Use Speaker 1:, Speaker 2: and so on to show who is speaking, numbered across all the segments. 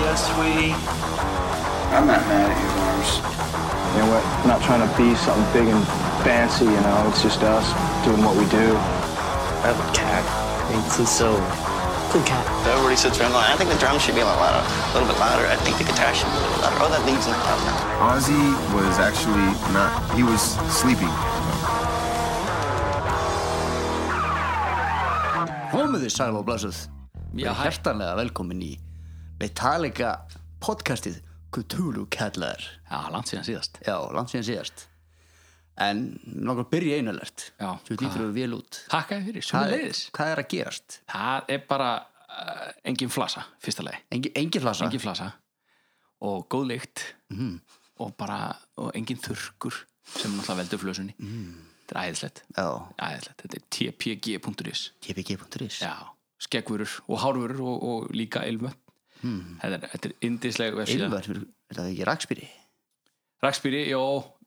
Speaker 1: Yeah, sweetie.
Speaker 2: I'm not mad at you, Lars.
Speaker 3: You know, we're not trying to be something big and fancy, you know, it's just us doing what we do.
Speaker 1: I have a cat. It's it's so cool cat.
Speaker 4: Everybody sits around going, I think the drums should be a little louder, a little bit louder. I think the guitar should be a little louder. Oh, that lead's not loud enough.
Speaker 5: Ozzy was actually not, he was sleeping.
Speaker 6: Komið þið sæl og blessuð Já, Hjertanlega velkomin í Metallica podcastið Cthulhu Kettler
Speaker 7: Já, langt síðan síðast
Speaker 6: Já, langt síðan síðast En langar að byrja einulegt
Speaker 7: Já,
Speaker 6: Svo lítur við vel út
Speaker 7: Takkaði fyrir, sem
Speaker 6: Hvað
Speaker 7: er
Speaker 6: er,
Speaker 7: leiðis
Speaker 6: hvað er að gerast?
Speaker 7: Það er bara uh, engin flasa, fyrsta leið
Speaker 6: Engi, engi flasa
Speaker 7: Engin flasa og góð lykt og bara, og engin þurrkur sem náttúrulega veldur flösunni Þetta er æðislegt,
Speaker 6: Já,
Speaker 7: æðislegt Þetta er tpg.is
Speaker 6: tpg.is
Speaker 7: Já, skeggvörur og hárvörur og, og líka ilmvötn þetta, er- þetta er indisleg vefsíða
Speaker 6: Ylvar, er þetta ekki rakspýri?
Speaker 7: Rakspýri, jó,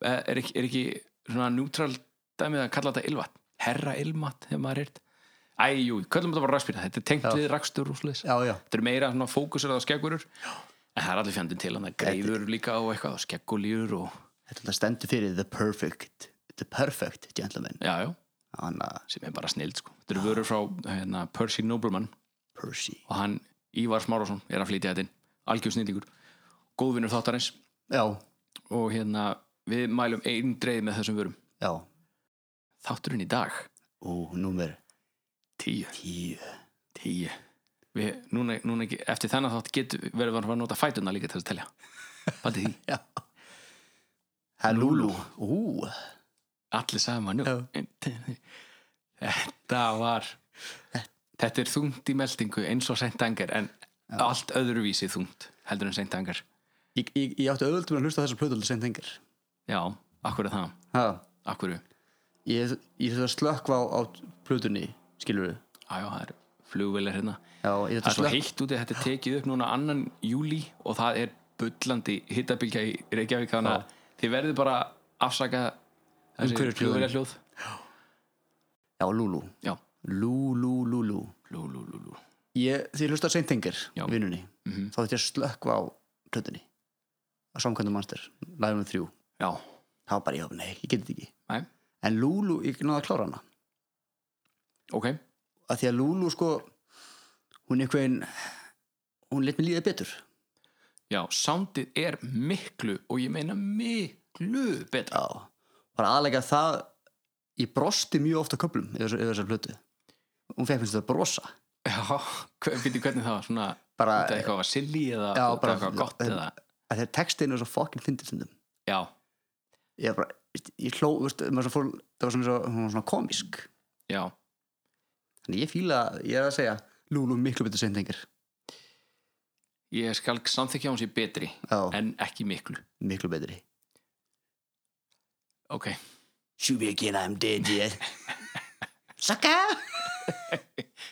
Speaker 7: eh, er ekki, er ekki svona neutral dæmið að kalla þetta ilvat Herra ilmat, hefur maður heyrt Æ, jú, köllum þetta bara rakspýri Þetta er tengt við rakstur og sliðis
Speaker 6: Já, já
Speaker 7: Þetta er meira svona fókusur á skeggurur En það er allir fjandinn til hann að greiður líka og eitthvað og skeggulýr og
Speaker 6: Þetta er stendur fyrir The Perfect The Perfect Gentleman
Speaker 7: já, já,
Speaker 6: Hann að
Speaker 7: sem er bara snild sko. Þetta eru vörur frá hérna, Percy Nobleman
Speaker 6: Percy
Speaker 7: og hann Ívar Smárásson er að flytja þetta inn algjör snildingur, góðvinur þáttarins
Speaker 6: Já,
Speaker 7: og hérna við mælum einn dreif með þessum vörum
Speaker 6: já
Speaker 7: Þátturinn í dag,
Speaker 6: Og númer
Speaker 7: tíu,
Speaker 6: 10
Speaker 7: tíu. Við, núna, núna, ekki- eftir þennan þátt getur verður við að fara að nota fætuna líka til þess að telja Paldi því,
Speaker 6: Já Helulu Ú,
Speaker 7: allir saman nú Þetta var Þetta er þungt í meldingu eins og seint angar en allt öðruvísi þungt heldur en seint angar
Speaker 6: Ég, ég, ég átti auðvöldum að hlusta á þessar plötulega sem þengar
Speaker 7: Já, akkur er það,
Speaker 6: ha,
Speaker 7: akkur er
Speaker 6: ég, ég þurfti að slökkva á, á plötunni skilur við
Speaker 7: Æjá, það er flugvélir hérna
Speaker 6: Já, ég þurfti
Speaker 7: Það er
Speaker 6: að
Speaker 7: svo
Speaker 6: slökkva
Speaker 7: heitt úti, þetta er tekið upp núna annan júli og það er bullandi hittabilgja í Reykjavík þannig að þið verður bara að afsaka þessi
Speaker 6: Umhverfishljóðin.
Speaker 7: flugvélir hljóð
Speaker 6: Já, Lulu
Speaker 7: Já,
Speaker 6: Lulu, Lulu
Speaker 7: lú, lú, lú, lú
Speaker 6: ég, Því ég hlusta á Seintengar
Speaker 7: Já.
Speaker 6: vinnunni mm -hmm. þá þurfti ég að slökkva á plötunni á samkvæmdum mannstur lærum við þrjú
Speaker 7: Já,
Speaker 6: þá bara ég, nei, ég geti þetta ekki
Speaker 7: næ,
Speaker 6: en Lulu, ég náði að klára hana
Speaker 7: ok
Speaker 6: að því að Lulu sko hún einhvern veginn hún let mér líða betur
Speaker 7: Já, soundið er miklu og ég meina miklu betra
Speaker 6: Já, bara aðlega það ég brosti mjög ofta köplum yfir, yfir þessar plötu hún fekk mér þetta að brosa
Speaker 7: Já, veitir hvernig það var svona
Speaker 6: bara,
Speaker 7: Þetta eitthvað var silly eða
Speaker 6: Já,
Speaker 7: já,
Speaker 6: bara-
Speaker 7: eitthvað gott eða
Speaker 6: að þegar textin er svo fokkin fyndir stundum
Speaker 7: Já,
Speaker 6: ég bara, veist, ég hló, veist, maður svo fór það var svona, svo, hún var svona komisk
Speaker 7: já,
Speaker 6: þannig ég fíla, ég er að segja Lúlu miklu betur sendingar
Speaker 7: ég skal samþykja hún sér betri
Speaker 6: Já.
Speaker 7: en ekki miklu
Speaker 6: miklu betri
Speaker 7: Ok,
Speaker 6: Shoot me again, I'm dead yet Saka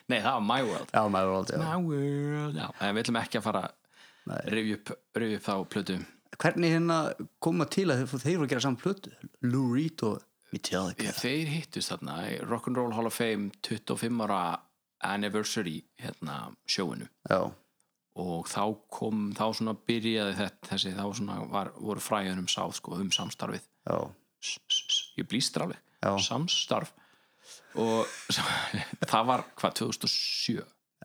Speaker 7: nei það var my world
Speaker 6: Já, maður var aldrei
Speaker 7: My world Já, en við ætlum ekki að fara
Speaker 6: Nei.
Speaker 7: að rifja upp, rifja upp þá plötu
Speaker 6: Hvernig hérna koma til að þeir, þeir voru að gera saman plötu Lou Reed og Metallica
Speaker 7: Þeir hittust þarna í Rock'n'Roll Hall of Fame 25 ára anniversary hérna sjóinu
Speaker 6: Já,
Speaker 7: og þá kom, þá svona byrjaði þetta þessi, þá svona var, voru fræðunum sáð sko um samstarfið
Speaker 6: já,
Speaker 7: S- s- s- ég blýstur alveg,
Speaker 6: Já.
Speaker 7: samstarf og það var hvað, 2007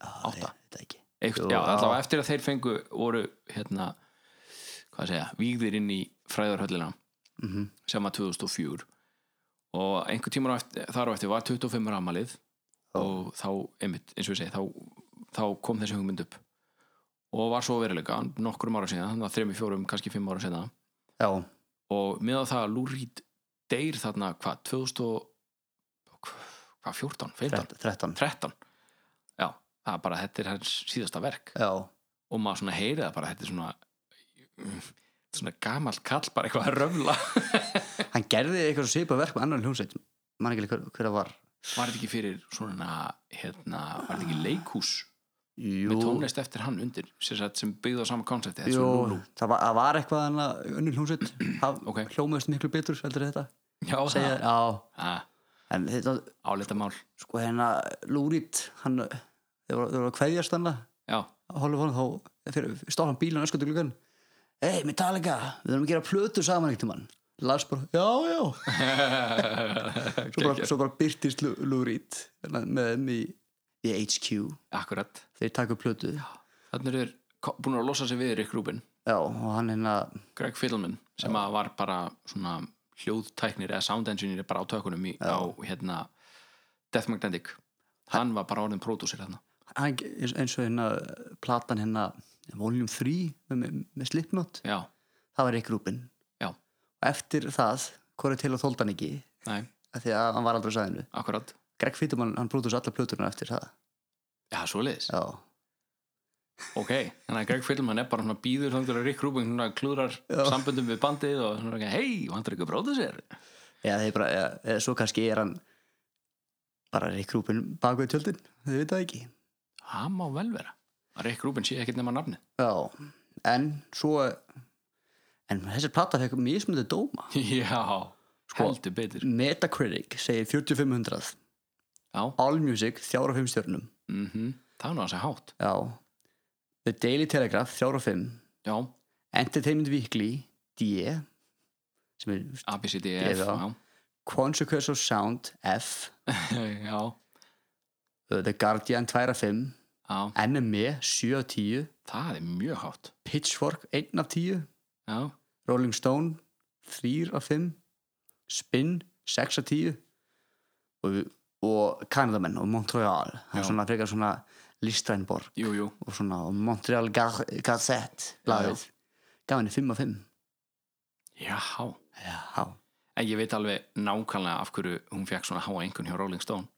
Speaker 6: átta Þetta ekki
Speaker 7: Eikt,
Speaker 6: Jú,
Speaker 7: já,
Speaker 6: já.
Speaker 7: allavega eftir að þeir fengu voru hérna, hvað að segja vígðir inn í fræðarhöllina
Speaker 6: Mhm.
Speaker 7: sem var 2004 og einhver tíma þar á eftir var 25 ramalið og þá, einmitt, eins og ég segi þá, þá kom þessi hugmynd upp og var svo veruleika nokkrum ára síðan, þannig að þremi, fjórum, kannski fimm ára síðan
Speaker 6: Já,
Speaker 7: og með að það að Lúrít deyr þarna hvað, 2000 og- hvað, 14, 15,
Speaker 6: 13, 13.
Speaker 7: 13 já, það er bara, þetta er hans síðasta verk
Speaker 6: Já,
Speaker 7: og maður svona heyrið það bara, þetta er svona þetta er svona gamalt kall bara eitthvað að röfla
Speaker 6: hann gerði eitthvað svo svipað verk með annan hljómsveit man ekki hver, hver það var
Speaker 7: var þetta ekki fyrir svona hérna, var þetta ekki leikhús
Speaker 6: Jú,
Speaker 7: með tónlist eftir hann undir sem, sagt, sem byggði á sama konsepti þetta er
Speaker 6: jú,
Speaker 7: svona Lúlú.
Speaker 6: það var, það var eitthvað hann að önnur hljómsveit það
Speaker 7: Ok.
Speaker 6: hljómaðist miklu betur heldur en þetta
Speaker 7: já,
Speaker 6: segja,
Speaker 7: það,
Speaker 6: já,
Speaker 7: það,
Speaker 6: en þetta
Speaker 7: álitamál
Speaker 6: sko hérna Lúrít hann, þau voru þau voru að kveðjast hann
Speaker 7: já,
Speaker 6: Hollywood þá fyrir, stóð hann bílun öskutu gluggan Hey Metallica, við þurfum að gera plötu saman eitt mann Lars bara, já, já Svo bara, svo bara byrtist Lou Lou Reed með þeim í, í HQ
Speaker 7: akkurat
Speaker 6: þeir taka upp plötu já.
Speaker 7: þannig er ko- búin að losa sig við Rick Rubin
Speaker 6: og hann hérna
Speaker 7: Greg Fiddleman sem að var bara svona hljóðtæknir eða sound engineer bara á tökunum í, á hérna Death Magnetic hann var bara orðin pródúsir hérna
Speaker 6: hann, eins, eins og hérna platan hérna Volume 3 með, með Slipknot
Speaker 7: já,
Speaker 6: það var Rick Rubin
Speaker 7: já,
Speaker 6: og eftir það, hvað er til að þólda hann ekki
Speaker 7: nei,
Speaker 6: af því að hann var aldrei á sæðinu
Speaker 7: akkurat
Speaker 6: Greg Fittumann, hann brúðus allar plöturna eftir það
Speaker 7: já, svoleiðis,
Speaker 6: já,
Speaker 7: ok þannig að Greg Fiddleman er bara svona býður þannig að Rick Rubin svona klúrar samböndum við bandið og svona, hei, hann er ekki pródúsir
Speaker 6: eða þeir bara eða, eða svo kannski er hann bara Rick Rubin bak við tjöldin þau veit það ekki
Speaker 7: hann má vel vera að Rick Rubin sé ekkert nema nafni
Speaker 6: já, en svo en þessi plata fekk mismunandi dóma
Speaker 7: já,
Speaker 6: Sko.
Speaker 7: heldur betur
Speaker 6: Metacritic segir 4500
Speaker 7: já,
Speaker 6: Allmusic 45 stjörnum
Speaker 7: mhm, það er nú að segja hátt
Speaker 6: já, The Daily Telegraph 45
Speaker 7: já,
Speaker 6: Entertainment Weekly D sem er
Speaker 7: ABCDF
Speaker 6: Ég þá.
Speaker 7: já,
Speaker 6: Consequence of Sound F
Speaker 7: já,
Speaker 6: uh, The Guardian 2 af 5
Speaker 7: já
Speaker 6: NME 7 af 10
Speaker 7: Það er mjög hátt
Speaker 6: Pitchfork 1 af 10
Speaker 7: Já,
Speaker 6: Rolling Stone 3 af 5 Spin 6 af 10 og, og Kanadamenn og Montreal það er
Speaker 7: Já.
Speaker 6: svona frekar svona Listrænborg
Speaker 7: jú, jú
Speaker 6: og svona og Montreal Ga- Gazette blaðið gaf henni 5 af 5
Speaker 7: Já,
Speaker 6: já,
Speaker 7: en ég veit alveg nákvæmlega af hverju hún fekk svona háa einhvern hjá Rolling Stone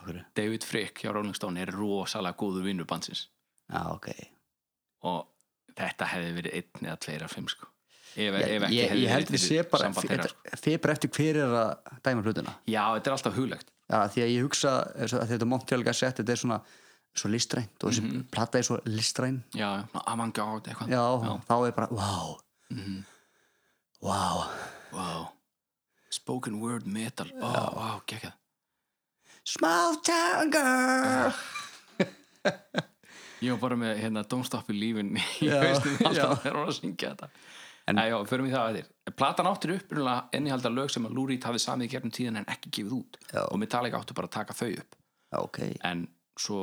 Speaker 6: okkur
Speaker 7: David Frick hjá Rolling Stone er rosalega góður vinnu bandsins
Speaker 6: já, ok
Speaker 7: og þetta hefði verið einn eða tveir af fimm sko Ef,
Speaker 6: ég,
Speaker 7: ef ekki
Speaker 6: ég,
Speaker 7: hefði
Speaker 6: ég held
Speaker 7: verið
Speaker 6: við sé
Speaker 7: fyrir
Speaker 6: bara
Speaker 7: samband þeirra, sko.
Speaker 6: feber eftir hver er að dæma hlutuna
Speaker 7: Já, þetta er alltaf huglegt
Speaker 6: já, því að ég hugsa eins og að þetta Montreal Gazette þetta er svona svo listrænt og þessi
Speaker 7: Mhm.
Speaker 6: plata er svo listræn
Speaker 7: Já, já, avantgard eitthvað
Speaker 6: já, þá er bara, wow wow
Speaker 7: Wow. Spoken word metal Ó, oh, wow, gekkjað
Speaker 6: small town girl
Speaker 7: Ég var bara með hérna Don't Stop Believin í
Speaker 6: Já,
Speaker 7: haustum
Speaker 6: já.
Speaker 7: alltaf þegar hún var að syngja þetta en, já, förum í það að þér Platan áttir upprunalega ennihaldar lög sem að Lúrít hafði samið í gerðum tíðan en ekki gefið út
Speaker 6: Já.
Speaker 7: og Metallica áttu bara að taka þau upp
Speaker 6: Já, ok,
Speaker 7: en svo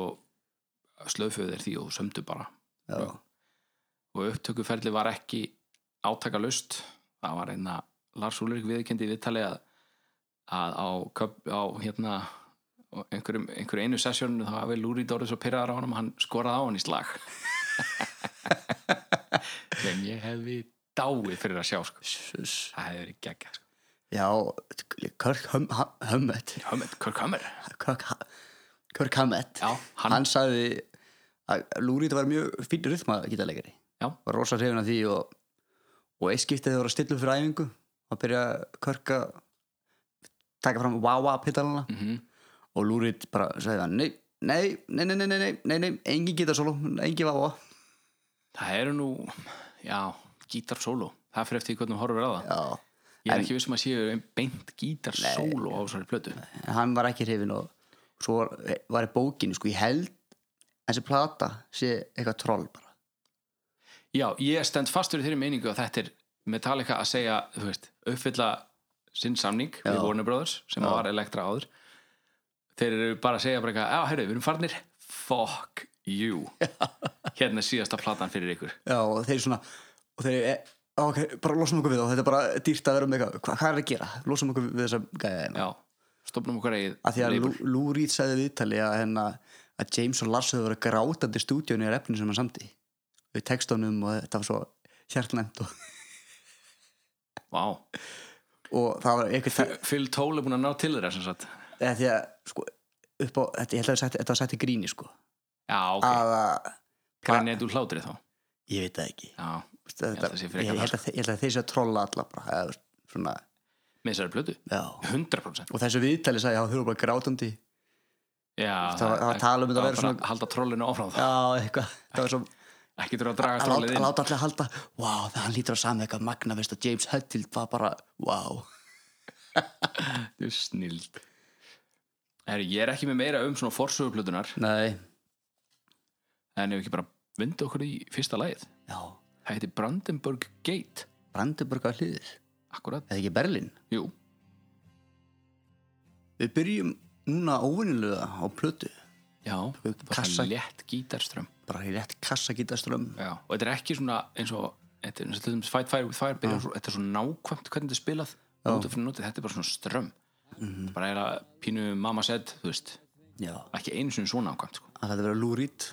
Speaker 7: slöfuðu þeir því og sömdu bara
Speaker 6: já,
Speaker 7: og upptökuferli var ekki átakalust það var einna Lars Úlrik viðkendi viðtali að, að á, köp- á hérna á einhverjum, einhverju einu sessjónu þá hafi Lúri Dóri svo pyrraðar á honum að hann skoraði á hann í slag sem ég hefði dáið fyrir að sjá sko. það hefði verið geggja sko.
Speaker 6: já Kirk Hum- Hum- Hammett
Speaker 7: Hömmet, Kirk Hummer
Speaker 6: Kirk, Ha- Kirk Hammett
Speaker 7: Já, hann-
Speaker 6: hann sagði að Lúrít var mjög fínn rytma gítarleikari
Speaker 7: Já.
Speaker 6: var rosa hrifin af því og, og eitt skiptið þegar það voru að stilla upp fyrir æfingu og byrja Kirk að taka fram wah-wah pittalana
Speaker 7: Mhm.
Speaker 6: og Lúrít bara sagði hann nei, nei, nei, nei, nei, nei, nei, nei, nei engin gítarsólu, engin wah-wah
Speaker 7: það eru nú, já, gítar solo það fyrir eftir því hvernig horfur að það
Speaker 6: já,
Speaker 7: ég er ekki viss um að séu ein beint gítar solo á þessari plötu
Speaker 6: en hann var ekki hrifin og svo var, var í bókinu sko, ég held þessi plata sé eitthvað troll bara
Speaker 7: Já, ég stend fastur í þeirri meiningu að þetta er Metallica að segja, þú veist, uppfylla sinn samning við Warner Brothers sem var Elektra áður þeir eru bara að segja bara eitthvað, já, heyrðu, við erum farnir fuck you hérna er síðasta platan fyrir ykkur
Speaker 6: já, og þeir svona og þeir, e, ok, bara losum okkur við þá þetta er bara dýrt að vera með eitthvað, hvað, hvað er að gera losum okkur við þessa gæja hérna
Speaker 7: Já, stopnum okkur eigið
Speaker 6: að því að
Speaker 7: label.
Speaker 6: Lou- Lou Reed sagði viðtali að, hérna, að James og Lars höfðu verið grátandi í stúdíónu í refninu sem hann samti við textunum og þetta var svo hjartnæmt og,
Speaker 7: Vá,
Speaker 6: og það var eitthvað
Speaker 7: Phil Toll er búin að ná til þeirra sem sagt
Speaker 6: eða því að sko, upp á, þetta, ég held að þetta- þetta var sætti gríni sko,
Speaker 7: Já, ok,
Speaker 6: að að
Speaker 7: grænið þú hlátrið þá
Speaker 6: ég veit það ekki
Speaker 7: Já,
Speaker 6: Þetta,
Speaker 7: Ég held að sé frekar
Speaker 6: ég, ég, held að, ég held að þeir sé að trolla alla bara, eða, þú veist, svona,
Speaker 7: með þessari plötu,
Speaker 6: já.
Speaker 7: 100%
Speaker 6: og þessu viðtali sagði að þau eru bara grátandi já,
Speaker 7: Já,
Speaker 6: Það var- það var tal um þetta að vera
Speaker 7: bara
Speaker 6: svona-
Speaker 7: Halda trollinu áfram þá,
Speaker 6: eitthvað það var svo
Speaker 7: ekki þurfa að draga
Speaker 6: að láta,
Speaker 7: trollið
Speaker 6: að
Speaker 7: inn
Speaker 6: láta allir halda wow, það hann lítur að samið eitthvað magna veist að James Hetfield var bara wow
Speaker 7: Þetta er snild Herri, ég er ekki með meira um svona forsöguplutunar
Speaker 6: nei,
Speaker 7: en ef ekki bara vindu okkur í fyrsta lagið
Speaker 6: já,
Speaker 7: það heiti Brandenburg Gate
Speaker 6: Brandenburg að hliðið
Speaker 7: akkurat,
Speaker 6: eða ekki Berlin
Speaker 7: jú,
Speaker 6: við byrjum núna óvinnilega á plötu
Speaker 7: já
Speaker 6: Kassa-
Speaker 7: kassa létt gítarström
Speaker 6: bara í rétt kassa gítaströmm
Speaker 7: já. og þetta er ekki svona eins og þetta er eins og til dæmis Fight Fire with Fire byrjar, svo- þetta er svo nákvæmt hvernig þetta er spilað nótu fyrir nótu, þetta er bara svona ström þetta bara er að pínu mamma said þú veist,
Speaker 6: já,
Speaker 7: ekki einu sinni svona nákvæmt sko.
Speaker 6: að þetta vera lúrít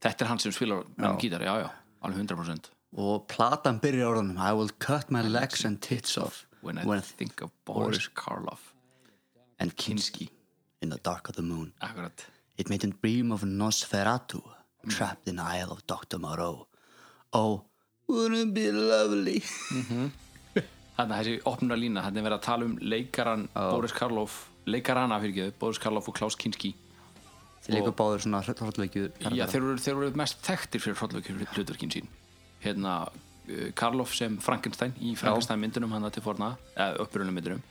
Speaker 7: þetta er hann sem spilar með gítar, já já, alveg 100%
Speaker 6: og platan byrjar á orðanum I will cut my legs and tits off
Speaker 7: when I think of
Speaker 6: Boris
Speaker 7: Boris Karloff
Speaker 6: and Kinski in the dark of the moon
Speaker 7: akkurat
Speaker 6: It made him dream of Nosferatu trapped in the Isle of Dr. Moreau Oh, wouldn't it be lovely
Speaker 7: Þannig að þessi opnuna lína, þannig að vera að tala um leikaran Boris Karloff, leikarana fyrir geðu, Boris Karloff og Klaus Kinski.
Speaker 6: Þeir leikur báður svona hrottleikju
Speaker 7: Já, þeir eru, þeir eru mest þekktir fyrir hrollvökjur hlutverkin sín. Hérna, eh, Karloff sem Frankenstein í Frankenstein myndunum hann til forna, eða upprunum myndunum,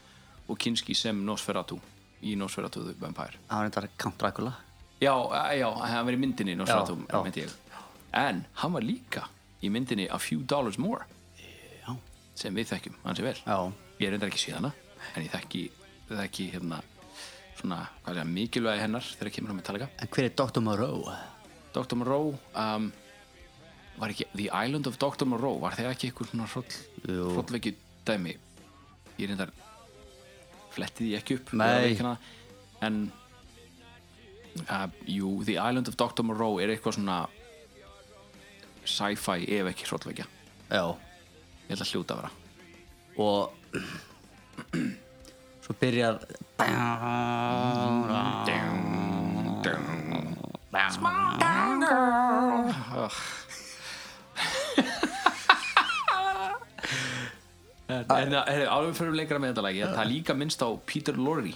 Speaker 7: og Kinski sem Nosferatu í Nosferatu the Vampire.
Speaker 6: Það var þetta Count Dracula
Speaker 7: Já, eh, já, hann var í myndinni í Nosferatu,
Speaker 6: Já, já.
Speaker 7: myndi ég. En hann var líka í myndinni A Few Dollars More,
Speaker 6: Já.
Speaker 7: sem við þekkjum, hann sé vel.
Speaker 6: Já,
Speaker 7: ég er reyndar ekki síðana en ég þekki, þekki hérna, svona, hvað sé, mikilvægi hennar þegar kemur á Metallica
Speaker 6: en hver er Dr. Moreau?
Speaker 7: Dr. Moreau um, var ekki, The Island of Dr. Moreau var þegar ekki eitthvað svona hroll
Speaker 6: Jú.
Speaker 7: hrollvekju dæmi ég reyndar fletti því ekki upp
Speaker 6: Nei.
Speaker 7: hana, en uh, jú, The Island of Dr. Moreau er eitthvað svona sci-fi ef ekki hrollvekja
Speaker 6: Já,
Speaker 7: ég ætla að hljóta að vera
Speaker 6: og svo byrjar
Speaker 7: En það er alveg fyrir leikara með þetta lagi Það er líka minnst á Peter Lorre í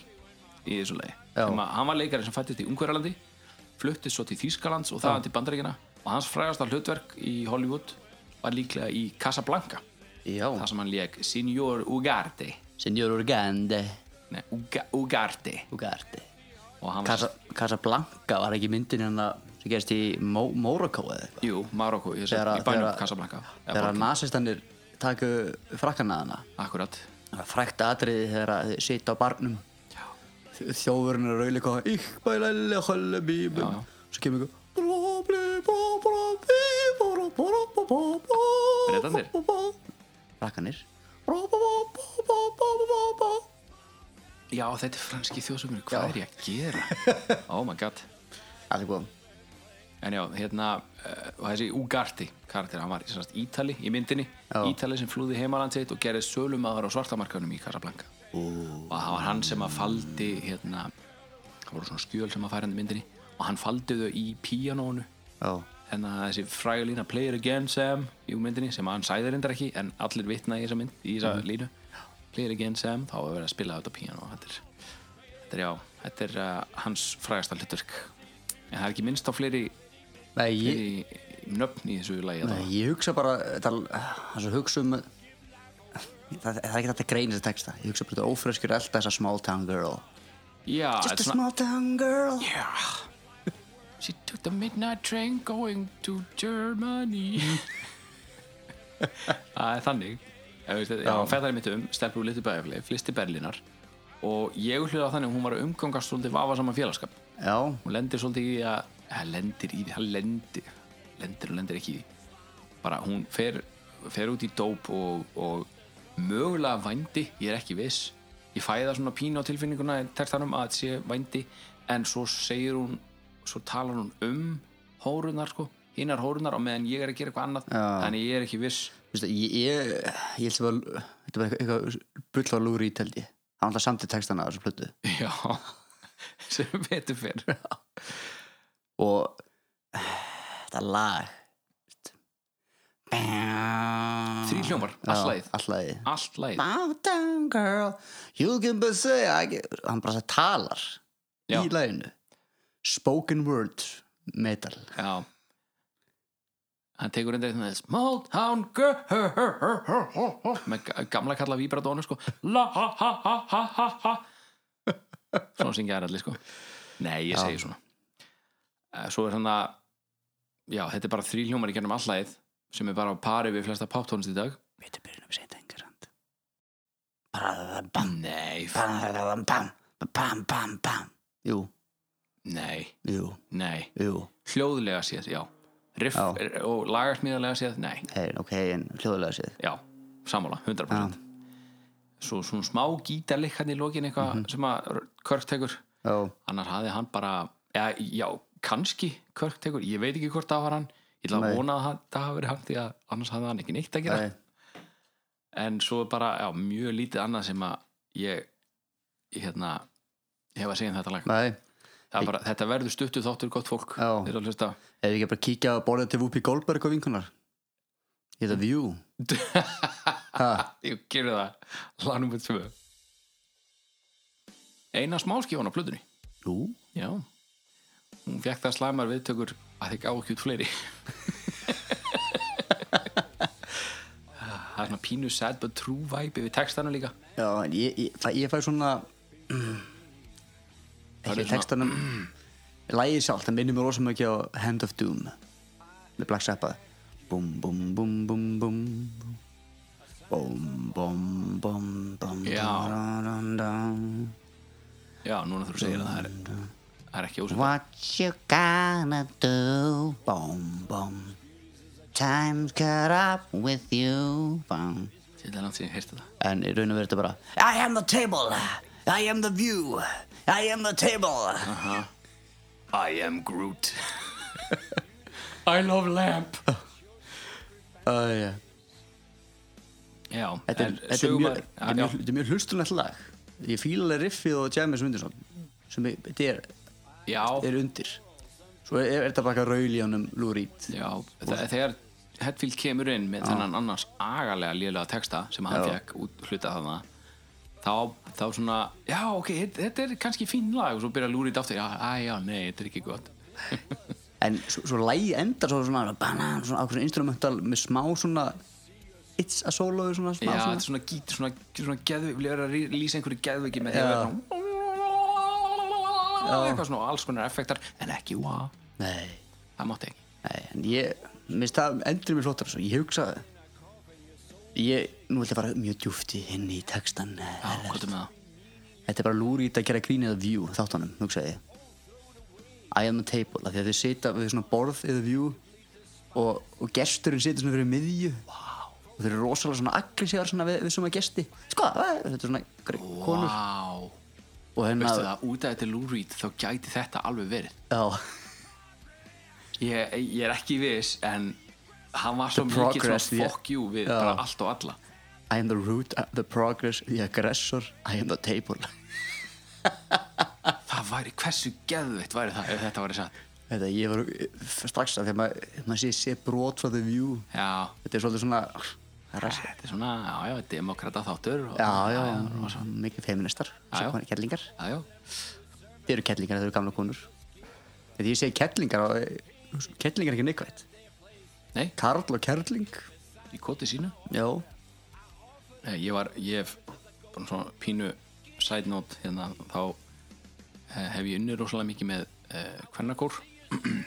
Speaker 7: þessu lagi
Speaker 6: Já.
Speaker 7: sem að, Hann var leikari sem fættist í Ungverjalandi fluttist svo til Þýskalands og þaðan til Bandaríkina og hans frægasta hlutverk í Hollywood var líklega í Casablanca
Speaker 6: Já,
Speaker 7: þar sem hann leik Signor Ugarte
Speaker 6: Signor Urgande
Speaker 7: Nei, Uga, Ugarte
Speaker 6: Ugarte
Speaker 7: og hann var,
Speaker 6: Casa, Casablanca var ekki myndin hérna sem gerist í Mo Morocco eða eitthvað
Speaker 7: jú, Marokko í, þessu-
Speaker 6: Þegar að-
Speaker 7: í bænum
Speaker 6: þegar að-
Speaker 7: Casablanca Eða
Speaker 6: þegar
Speaker 7: borgin.
Speaker 6: nazistanir taku frakkan að hana
Speaker 7: Akkurat
Speaker 6: það er frækt atriði þegar að þið sita á barnum þjófurinn er rauðleika ík bælæli höllu bíbum
Speaker 7: Já, já.
Speaker 6: svo kemur ykkur Bretandir Frakkanir
Speaker 7: Já, þetta er franski þjóðsöfnur, hvað er ég að gera? oh my god
Speaker 6: Allir góðum
Speaker 7: En já, hérna, uh, og þessi Ugarti karakter, hann var í sannast Ítali í myndinni Ítali sem flúði heimaland sitt og gerði sölumadur á svartamarkanum í Casablanca og það var hann sem að faldi hérna, það voru svona skjöl sem að færa hann í myndinni og hann faldi þau í píanónu
Speaker 6: Já,
Speaker 7: en að þessi fræga lína Play it again Sam í myndinni sem hann sæði reyndar ekki en allir vitna í þessa mynd, í þessa línu Play it again Sam, þá var verið að spila þetta á píanó þetta er, þetta er já, þetta er uh, hans frægasta hlutverk en það er ekki minnst á fleiri
Speaker 6: Nei, ég,
Speaker 7: í nöfn í þessu lagi
Speaker 6: nei,
Speaker 7: Nei.
Speaker 6: ég hugsa bara það er svo hugsa um það, það er ekki þetta grein þessi texta ég hugsa bara þetta ófreskjur elda þessa small town girl
Speaker 7: Já,
Speaker 6: Just a
Speaker 7: svona-
Speaker 6: small town girl
Speaker 7: She took the midnight train going to Germany Það er þannig Ég veist, Já, hann fættar í mitt um stelpur úr litlu bæðafli, flysti Berlínar og ég hljóða þannig að hún var að umgangast svolítið vafa saman félagskap
Speaker 6: Já,
Speaker 7: hún lendir svolítið í því að hann lendir í því, hann lendir lendir og lendir ekki í því bara hún fer, fer út í dóp og, og mögulega vændi ég er ekki viss ég fæði það svona pínu á tilfinninguna í textanum að þetta sé vændi en svo segir hún svo talar hún um hórunar sko, hinnar hórunar og meðan ég er að gera eitthvað annað þannig ég er ekki viss
Speaker 6: Vistu, ég, ég, ég held að þetta var eitthvað, eitthvað bull á lúri í teldi hann alltaf samtid textana á þessu plötu
Speaker 7: já, sem betur fyrr
Speaker 6: og þetta lag
Speaker 7: þrý hljómar, allt lagið
Speaker 6: allagið
Speaker 7: allt lagið,
Speaker 6: Mountain girl you can be say I can... hann bara það talar
Speaker 7: Já.
Speaker 6: í laginu spoken word metal
Speaker 7: Já Hann tekur reyndar eitthvað þess Small town girl með ga- gamla kalla víbratónu sko La ha ha ha ha ha ha Svona syngja þær allir sko Nei, ég segi svona Eh, Svo er hann að já, þetta er bara þrýljómar í gennum allæð sem er bara á pari við flesta poptónist í dag
Speaker 6: Við byrjum að setja einhver hand Bam,
Speaker 7: Nei, f-
Speaker 6: bam, bam Bam, bam, bam Jú,
Speaker 7: nei,
Speaker 6: jú,
Speaker 7: nei
Speaker 6: jú
Speaker 7: Hljóðlega séð, já Riff
Speaker 6: Já.
Speaker 7: er- og lagarsmíðarlega séð, nei
Speaker 6: hey, Ok, en hljóðlega séð
Speaker 7: Já, sammála, 100% Svo svona smá gítarleik hann í lokin eitthvað
Speaker 6: Mhm.
Speaker 7: sem að Körk tekur
Speaker 6: Já,
Speaker 7: annars hafði hann bara já, já kannski Körk tekur, ég veit ekki hvort það var hann ég ætla
Speaker 6: Nei.
Speaker 7: að vona að hann- það hafi verið hann því að annars hafði hann ekki neitt að gera
Speaker 6: nei,
Speaker 7: en svo er bara, já, mjög lítið annað sem að ég, ég hérna hef að segja um þetta lag
Speaker 6: nei
Speaker 7: Það er bara, þetta verður stuttu þáttur gott fólk
Speaker 6: Já.
Speaker 7: þeir eru að hlusta
Speaker 6: Er ekki bara að kíkja að borða til Whoopi Goldberg og vinkunar? Ég þetta View Ha,
Speaker 7: ég gerði það lagnum við tvö eina smáskifan á plötunni
Speaker 6: jú
Speaker 7: já hún fekk það slæmar viðtökur að þig ákjút fleiri það er svona pínu sad but true vibe yfir textanu líka
Speaker 6: Já, en ég, ég, fæ, ég fæ svona
Speaker 7: Það
Speaker 6: ekki
Speaker 7: er svona-
Speaker 6: textanum lægið sjálf, það minnir mér rosa mikið á Hand of Doom með Black Sabbath bum bum bum bum bum bum. bum bum bum bum
Speaker 7: Já.
Speaker 6: dun, dun, dun.
Speaker 7: já, núna þú segir að það er, það er ekki ósum
Speaker 6: What you gonna do bum bum Time's caught up with you bum
Speaker 7: þetta er langt síðan ég heyrti það
Speaker 6: en í raun og verið þetta bara I am the table, I am the view I am the table
Speaker 7: I am Groot I love lamp
Speaker 6: uh, yeah.
Speaker 7: já,
Speaker 6: þetta, er,
Speaker 7: en
Speaker 6: þetta, er mjög,
Speaker 7: sögumaður-
Speaker 6: þetta, er
Speaker 7: já,
Speaker 6: mjög, þetta er mjög hlustunlegt lag ég fíla alveg riffið og jammið sem undir svona, sem er- þetta er,
Speaker 7: já,
Speaker 6: er undir svo er, er þetta bara eitthvað raul í honum Lou Reed
Speaker 7: Já, þe- þegar Hetfield kemur inn með þennan annars agalega lélega texta sem hann
Speaker 6: Já.
Speaker 7: fekk út hluta þarna þá, þá svona, já ok, þe- þetta er kannski fín lag og svo byrja að lúrið aftur, já, að, já, nei, þetta er ekki gott
Speaker 6: en svo, svo lægi endar svo svona banan, svona ákveðin instrumental með smá svona it's a solo svona,
Speaker 7: Já,
Speaker 6: smá,
Speaker 7: þetta er
Speaker 6: svona,
Speaker 7: svona gít, svona, svona geðvik, við erum að rí- lýsa einhverju geðviki með því að
Speaker 6: Já.
Speaker 7: vera svona eitthvað svona, alls konar effektar en ekki, wow,
Speaker 6: nei,
Speaker 7: það mátti ekki
Speaker 6: nei en ég, minnst það endur mér flottar svo, ég hugsaði ég, nú ætla ég að fara mjög djúfti inn í textan
Speaker 7: Já, hvað er með það?
Speaker 6: Þetta er bara lúrít að gera grínið að view þáttanum, hugsaði ég. I am a table, af því að þau sita við svona borð eða view og, og gesturinn situr svona fyrir miðju wow. og þau eru rosalega svona aggressívar svona við, við svona gesti sko, æ, þetta er svona gre- konur
Speaker 7: Vá,
Speaker 6: og hérna,
Speaker 7: veistu það, út af þetta lúrið þá gæti þetta alveg verið
Speaker 6: já,
Speaker 7: Ég, ég er ekki viss en hann var svo mikið svona
Speaker 6: progress, yeah.
Speaker 7: fuck you við
Speaker 6: Já.
Speaker 7: bara allt og alla
Speaker 6: I am the root, uh, the progress, the aggressor I am the table
Speaker 7: það væri, hversu geðveitt væri það ef þetta væri satt
Speaker 6: Þetta, ég var strax að þegar maður mað sé, sé brot frá the view
Speaker 7: já,
Speaker 6: þetta er svolítið svona rassi.
Speaker 7: þetta er svona, já, já, demokrata þáttur og,
Speaker 6: Já, já, já,
Speaker 7: já,
Speaker 6: mikið feministar
Speaker 7: Já, já.
Speaker 6: sem konar kellingar
Speaker 7: já, já.
Speaker 6: Þið eru kettlingar, þið eru gamla konur Þegar ég segi kettlingar þá- Kettlingar er ekki neikvægt
Speaker 7: Nei.
Speaker 6: Karl og kerling
Speaker 7: í koti sínu
Speaker 6: Já
Speaker 7: Nei, ég var, ég hef bara svona pínu side note hérna, þá eh, hef ég unnið rosalega mikið með eh, kvennakór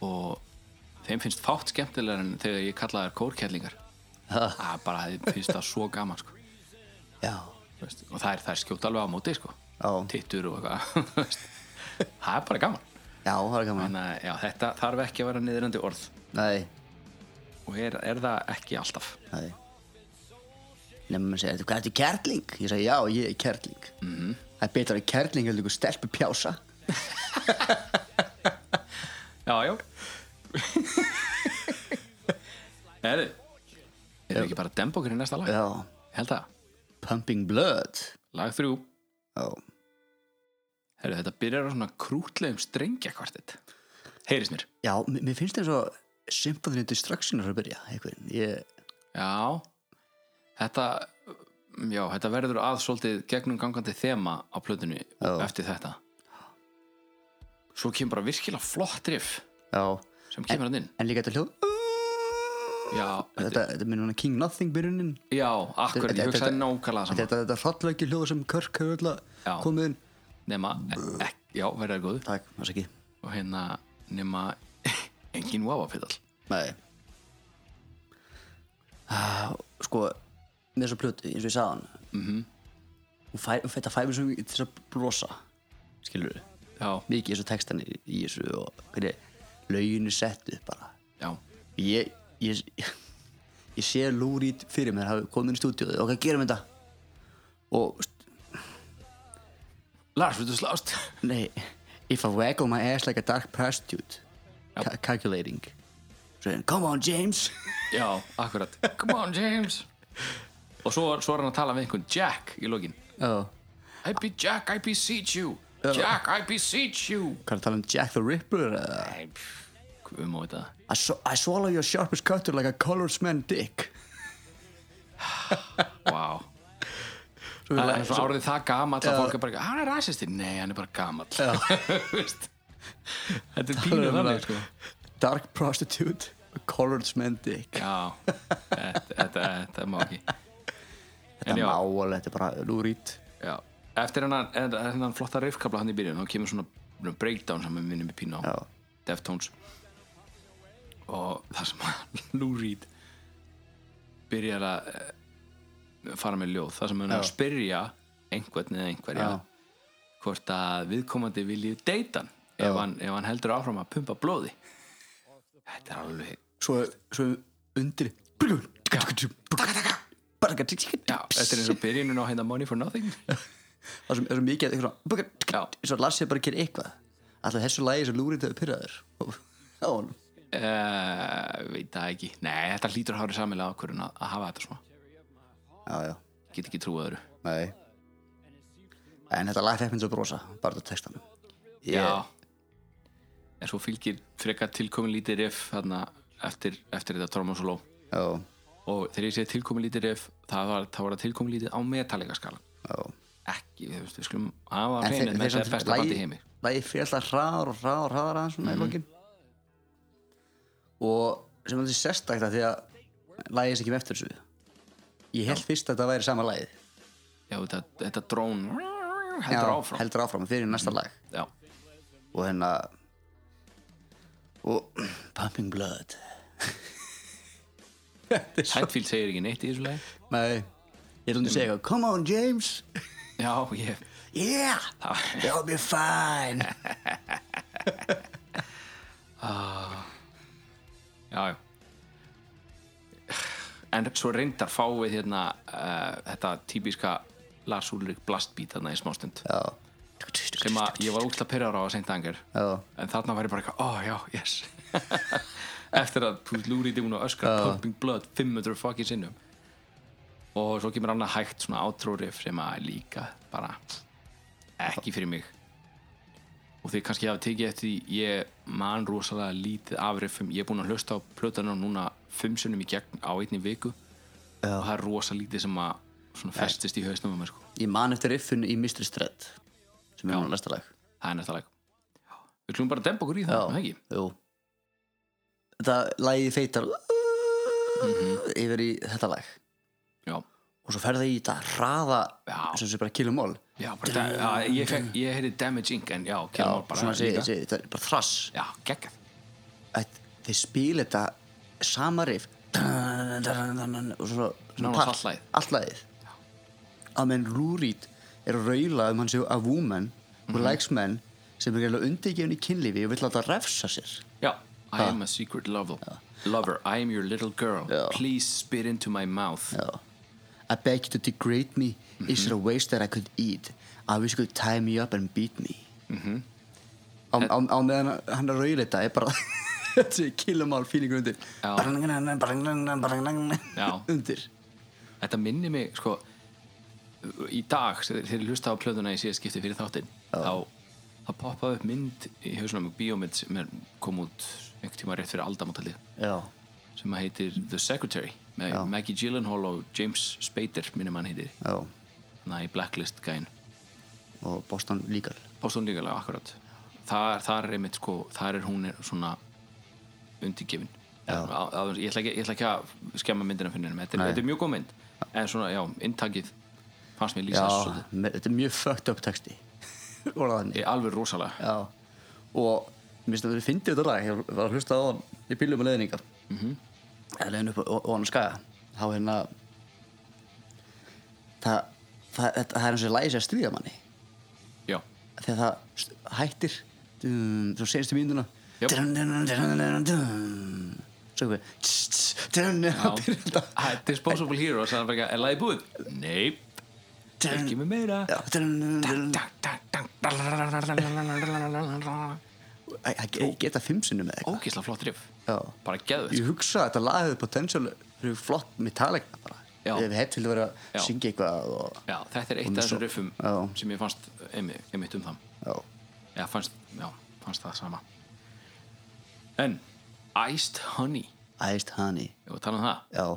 Speaker 7: og þeim finnst fátt skemmtilegar en þegar ég kalla þær kórkællingar það er bara, þeim finnst það svo gaman sko.
Speaker 6: Já
Speaker 7: Þú veist, og það er, það er skjótt alveg á móti sko.
Speaker 6: Já.
Speaker 7: tittur og eitthvað þú veist. það er bara gaman
Speaker 6: Já, það er gaman
Speaker 7: Þannig, að, já, þetta þarf ekki að vera niðurandi orð
Speaker 6: Nei,
Speaker 7: og er, er það ekki alltaf
Speaker 6: nei Nefnum að segja, "Ertu- hvað ertu kerling? Ég segi, já, ég er kerling -hmm. Það er betra að kerling heldur ykkur stelpu pjása
Speaker 7: já, já Herri erum við ekki bara að dempa okkur í næsta lag
Speaker 6: Já
Speaker 7: Ég held það,
Speaker 6: Pumping blood
Speaker 7: lag þrjú
Speaker 6: Já
Speaker 7: Herri, þetta byrjar á svona krútlegum strengja kvartett heyrist mér
Speaker 6: Já, mér mér finnst eins og Symphony Destruction er að byrja einhvern. Ég,
Speaker 7: já, þetta já, þetta verður að svolítið gegnum gangandi þema á plötunni
Speaker 6: Já.
Speaker 7: eftir þetta svo kemur bara virkilega flott riff
Speaker 6: Já
Speaker 7: sem kemur hann inn
Speaker 6: En líka þetta hljóð
Speaker 7: já, þetta,
Speaker 6: Þetta, þetta minnum hana King Nothing byrjunin
Speaker 7: já akkur, ég
Speaker 6: Þetta-
Speaker 7: hugsaði
Speaker 6: þetta-
Speaker 7: nákvæmlega saman
Speaker 6: Þetta, þetta hrollvekju hljóð sem Körk hefur
Speaker 7: Já.
Speaker 6: alltaf komið inn
Speaker 7: nema, ek, e- já, verður það góð
Speaker 6: Takk, það sé ekki
Speaker 7: og hérna nema engin wah-wah-pedal
Speaker 6: Nei Ah, Sko með þessa plötu, eins og ég sagði hann mm -hmm. hún fær, hún fæ, þetta fær mér svo mikið til að brosa skilur við,
Speaker 7: já,
Speaker 6: mikið eins og textan í í þessu og hvernig lögin er sett upp bara
Speaker 7: já,
Speaker 6: ég, ég, ég sé lúrít fyrir mér hafi komið inn í stúdíóðu og hvað gerum við þetta og st-
Speaker 7: Lars, viltu slást?
Speaker 6: nei if I waggle my ass like a dark prostitute ca calculating so then come on James
Speaker 7: já, akkurat, come on James og svo, svo er hann að tala við einhvern Jack í lokin
Speaker 6: oh.
Speaker 7: I be Jack, I beseech you Jack, I beseech you
Speaker 6: hvað er að tala um Jack the Ripper eða?
Speaker 7: Nei, pff, Guð má vita það
Speaker 6: I, sw I swallow your sharpest cutter like a colored man dick
Speaker 7: Vá
Speaker 6: Svo
Speaker 7: Það
Speaker 6: vil-
Speaker 7: er svona
Speaker 6: svo-
Speaker 7: árið það gamall að fólk er bara, hann er rasisti Nei, hann er bara gamall Veist? Þetta er pínu
Speaker 6: um það.
Speaker 7: þannig sko.
Speaker 6: dark prostitute a colored man dick
Speaker 7: Já, þetta, þetta, þetta má ekki
Speaker 6: þetta
Speaker 7: já.
Speaker 6: má alveg, þetta er bara lúrít
Speaker 7: Já. Eftir hennan, hennan, hennan flotta riffkabla hann í byrjun, þá kemur svona breakdown sem við minnum í pínu á Deftones og það sem að Lou Reed byrjar að eh, fara með ljóð, það sem hann er að spyrja einhvern eða einhverja
Speaker 6: Já.
Speaker 7: hvort að viðkomandi viljið deytan ef hann, ef hann heldur áfram að pumpa blóði Þetta er alveg
Speaker 6: svo, svo undir
Speaker 7: Já, þetta er eins og byrjunin á hérna Money for Nothing
Speaker 6: það sem er svo mikið eitthvað svona,
Speaker 7: Já.
Speaker 6: eins og Lassi bara gerir eitthvað alltaf þessu lagi sem lúrið þau pyrraður á hann
Speaker 7: Uh, veit það ekki Nei, þetta hlýtur að hafa samilega ákvörðun að, að hafa þetta svona
Speaker 6: já, já,
Speaker 7: Get ekki trúið öðru
Speaker 6: nei en þetta lag fekk mér svo brosa bara þetta textanum ég,
Speaker 7: Já En svo fylgir frekar tilkomin lítið riff þarna, eftir, eftir þetta Tormund Soló
Speaker 6: já,
Speaker 7: og þegar ég segi tilkomin lítið riff það var, það var að tilkomin lítið á metallega skala
Speaker 6: já.
Speaker 7: Ekki, þú veist, við skulum hafa
Speaker 6: en
Speaker 7: hreinu með þetta er besta bandi heimi
Speaker 6: lagi fyrir alltaf hraðar og hraðar og hraðar aðeins svona í lokin og sem þetta er sérstakta því að lagið er ekki með eftir þessu ég held fyrst að þetta væri sama lagið
Speaker 7: Já, þetta, þetta drón heldur
Speaker 6: Já,
Speaker 7: áfram
Speaker 6: heldur áfram fyrir næsta lag
Speaker 7: Já,
Speaker 6: og hérna og Pumping Blood
Speaker 7: Hættfíld segir ekki neitt í þessu leið
Speaker 6: nei, ég ætlum að segja eitthvað, come on James
Speaker 7: Já, ég
Speaker 6: yeah, that'll be fine
Speaker 7: já, já en svo reyndar fá við hérna uh, þetta típiska Lars Ulrik blastbeat þarna í smástund
Speaker 6: já,
Speaker 7: sem að ég var útla pyrrar á að senda angar
Speaker 6: Já.
Speaker 7: en þarna var ég bara eitthvað, ó já, yes eftir að þú lúrið hún að öskra pumping blood 500 fucking sinnum og svo kemur annað hægt svona átrórif sem að líka bara ekki fyrir mig og þið kannski hafa tekið eftir því ég man rosalega lítið afrifum ég er búinn að hlusta á plötana núna fimm sunnum í gegn á einni viku og það er rosa lítið sem að svona festist í hausnum um mér sko
Speaker 6: ég man eftir riffun í Mystery Thread sem er núna næsta lag
Speaker 7: það er næsta lag við klúum bara að dempa okkur í það, er það ekki?
Speaker 6: jú það lagið feitar
Speaker 7: Mhm.
Speaker 6: yfir í þetta lag
Speaker 7: já,
Speaker 6: og svo ferði í þetta hraða
Speaker 7: Já.
Speaker 6: sem sé bara kilumól
Speaker 7: já, bara, da, já ég, fekk, ég heiti Damage Inc en já,
Speaker 6: já,
Speaker 7: Kilmore bara
Speaker 6: svona segi,
Speaker 7: líka.
Speaker 6: segi, þetta er bara þrass
Speaker 7: já, geggjað
Speaker 6: að þeir spila þetta sama riff og svo svona
Speaker 7: Nánast
Speaker 6: part,
Speaker 7: allt lagið.
Speaker 6: allt lagið að menn Lúrít er að raula um hann séu a woman
Speaker 7: Mhm.
Speaker 6: who likes men sem er gæla undirgefin í kynlífi og vill að það refsa sér
Speaker 7: já, I am a secret lover lover, I am your little girl
Speaker 6: Já.
Speaker 7: please spit into my mouth
Speaker 6: Já. I beg you to degrade me
Speaker 7: Mhm.
Speaker 6: is there a waste that I could eat I wish you could tie me up and beat me
Speaker 7: Mhm.
Speaker 6: á, á, á meðan hann er að raula þetta er bara þessi killamál fílingur undir
Speaker 7: Já. Já.
Speaker 6: undir
Speaker 7: þetta minni mig sko, í dag þegar ég hlusta á plöðuna í síðast skipti fyrir þáttinn þá, þá poppaði upp mynd í hausunum bíómynd sem er kom út einhvern tíma rétt fyrir aldamótalið
Speaker 6: já,
Speaker 7: sem að heitir The Secretary með Maggie Gyllenhaal og James Spader minnum hann heitir,
Speaker 6: já
Speaker 7: þannig að í Blacklist gæn
Speaker 6: og Boston Legal
Speaker 7: Boston Legal, já, akkurat þar, þar er einmitt sko, þar er hún er svona undirgefin Að- að- ég ætla, ekki, ég ætla ekki að skemma myndina fyrir henni, þetta, er- þetta er mjög góð mynd en svona, já, inntakið fannst mér lýsa þessu svolítið.
Speaker 6: me- þetta er mjög fucked up texti Orðaðan.
Speaker 7: Ég, alveg rosalega
Speaker 6: já og Mér finnst að þið fyndið þetta lag, ég var að hlusta á hann í bílum og leðninga mm -hmm. eða leðin upp og, og hann skaga þá hérna það, það, það, það er eins og lægi sér að stríða manni
Speaker 7: já,
Speaker 6: þegar það st- hættir dum, svo senstu mínuna
Speaker 7: Jöp.
Speaker 6: svo eitthvað tss, tss, dun,
Speaker 7: já.
Speaker 6: og byrjar þetta.
Speaker 7: Ha, uh, Disposable Heroes, það er bara ekki er lagið búið? Nei,
Speaker 6: Dun,
Speaker 7: ekki með meira
Speaker 6: já, dun, dun, dun. Æ, Það ge- geta fimm sinnum eða eitthvað
Speaker 7: Ógislega flott riff
Speaker 6: Já.
Speaker 7: bara sko. geðvett,
Speaker 6: Ég hugsa að þetta lag hefði potensial fyrir flott Metallica bara
Speaker 7: Já.
Speaker 6: Ef við hefði til að vera
Speaker 7: Já.
Speaker 6: að syngja eitthvað og,
Speaker 7: já, þetta er eitt af
Speaker 6: Og
Speaker 7: þessum
Speaker 6: svo-
Speaker 7: riffum
Speaker 6: Já.
Speaker 7: sem ég fannst einmi- einmitt um það
Speaker 6: já.
Speaker 7: Já, fannst, já, fannst það sama En Iced Honey,
Speaker 6: Iced Honey
Speaker 7: ef við tala um það
Speaker 6: Já,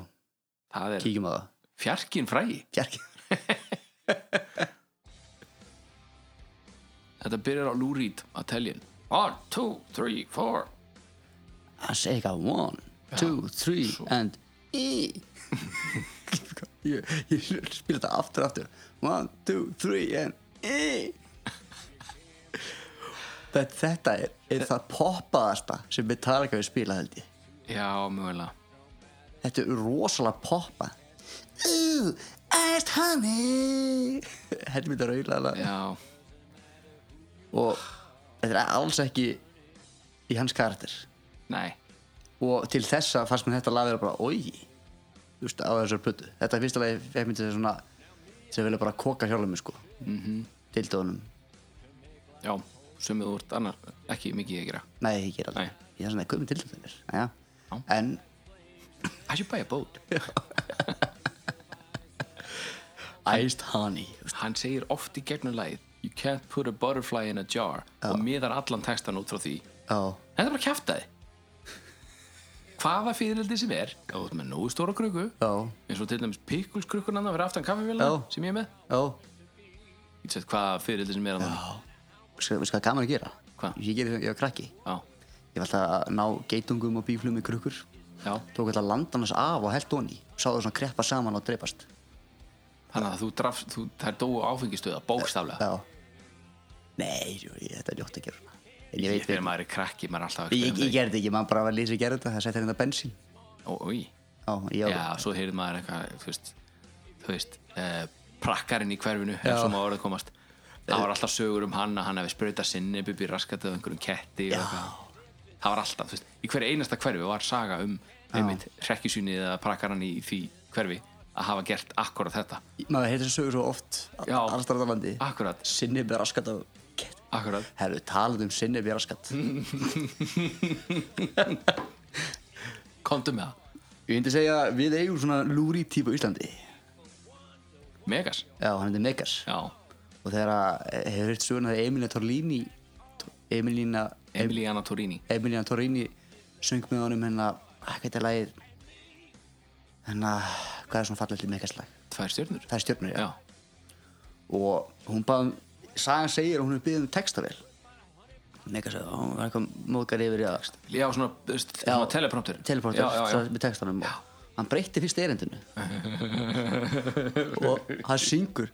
Speaker 7: Það er
Speaker 6: kíkjum á það
Speaker 7: fjarkinn frægi
Speaker 6: Fjarki
Speaker 7: Þetta byrjar á Lou Reed að telja 1, 2, 3, 4
Speaker 6: Hann segir eitthvað one, two, three and e Ég, ég spila þetta aftur aftur one, two, three and e Þetta, þetta er, er það poppaðasta sem Metallica við spila held ég
Speaker 7: Já, mögulega
Speaker 6: Þetta er rosalega poppa Ooh, iced honey Þetta myndi rauðlega
Speaker 7: Já,
Speaker 6: og þetta er alls ekki í hans karakter
Speaker 7: nei,
Speaker 6: og til þessa fannst mér þetta lag vera bara oi þú veist, á þessar plötu þetta er fyrsta lagi fekk mér til þess svona sem vilja bara koka hjálfum sko mm
Speaker 7: Mhm.
Speaker 6: -hmm. til dónum,
Speaker 7: já Sumið úr annar, ekki mikið að gera
Speaker 6: nei ég ger aldrei
Speaker 7: Nei.
Speaker 6: ég er svona að guðum til dónum
Speaker 7: Já.
Speaker 6: en
Speaker 7: I should buy a boat
Speaker 6: iced honey
Speaker 7: Hann segir oft í gegnum lagið You can't put a butterfly in a jar og miðar allan textan út frá því
Speaker 6: já,
Speaker 7: Þetta er bara kjaftaði Hvaða fyrirldi sem er ef þú ert með nógu stóra krukku
Speaker 6: já,
Speaker 7: eins og til dæmis pikulskrukkunan fyrir aftan kaffevélina
Speaker 6: Já.
Speaker 7: sem ég er með
Speaker 6: já
Speaker 7: ég get sett hvaða fyrirldi sem er að
Speaker 6: Ska- veistu hvað er gaman að gera?
Speaker 7: Hvað?
Speaker 6: ég gerði þegar ég var krakki
Speaker 7: já,
Speaker 6: ég var alltaf að ná geitungum og bíflum í krukkur
Speaker 7: já,
Speaker 6: tók alltaf landanars af og held onni sá það svona kreppa saman og dreipast
Speaker 7: þannig að þú drafst þú, þær dóu áfengistöða, bókstaflega
Speaker 6: Já Nei, jú, ég, þetta er ljótt að gera En ég
Speaker 7: ég
Speaker 6: veit
Speaker 7: veit
Speaker 6: við
Speaker 7: þegar maður er krakki, maður er alltaf að
Speaker 6: Ég, ég,
Speaker 7: experimenta
Speaker 6: ég gerði ekki, maður bara var lýsir að gera þetta Það setja hérna bensín
Speaker 7: í- Ó, í.
Speaker 6: Já, ég,
Speaker 7: já,
Speaker 6: já.
Speaker 7: svo heyrði maður eitthvað þú veist, þú veist eh, prakkarinn í hverfinu, eins og maður orðið komast
Speaker 6: Eh.
Speaker 7: það var alltaf sögur um hann að hann hefði sprauta sinni, bubi raskat eða einhverjum ketti og eitthvað. það var alltaf, þú veist, í hverju einasta hverfi var saga um einmitt hrekkjusýni eða prakkarann í því hverfi að hafa gert akkurat þetta
Speaker 6: Maður heyrði þessu sögur svo oft
Speaker 7: Já. Ah.
Speaker 6: Allstarðarlandi
Speaker 7: akkurat,
Speaker 6: Sinnið með raskat af Kett.
Speaker 7: akkurat
Speaker 6: Herðu, talað um sinnið með raskat
Speaker 7: Mm. Komdu með það.
Speaker 6: Ég myndi segja, við eigum svona lúri típa á Íslandi
Speaker 7: Megas.
Speaker 6: Já, hann hefði Megas
Speaker 7: Já.
Speaker 6: Og þegar að, eh, hefur hitt söguna þegar Emilina Torlini Emilina
Speaker 7: Emiliana Torini.
Speaker 6: Emilian Torrini söng með honum hérna, æ, hvað er lagið hérna, hvað er svona fallið til Megas lag?
Speaker 7: Tvær stjörnur.
Speaker 6: Það er stjörnur, já.
Speaker 7: Já.
Speaker 6: og hún bara, sagan segir að hún er byggðið um textavél Megas sagði, hún var eitthvað móðgar yfir í aðvægst
Speaker 7: Já, svona, þú veist, svona teleprompter.
Speaker 6: teleporter
Speaker 7: Já, já, já.
Speaker 6: með textanum og hann breytti fyrst erindinu og hann syngur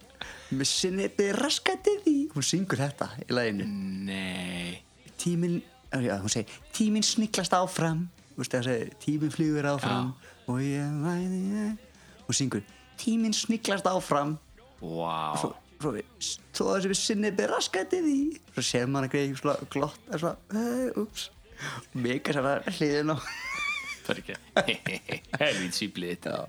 Speaker 6: með sinni raskati því hún syngur þetta í laginu
Speaker 7: Nei.
Speaker 6: tíminn eh, já, hún segir, tíminn sniklast áfram Þú veist, það segir, tíminn flygur áfram og ég væði ég hún syngur, tíminn sniklast áfram
Speaker 7: Vá.
Speaker 6: svo, svo við, svo þessi við sinni beð raskætti því svo sér maður að greið svona glott er svona, uh, ups mega sér að hliðin á
Speaker 7: Það er ekki. Helvíð síplið þetta.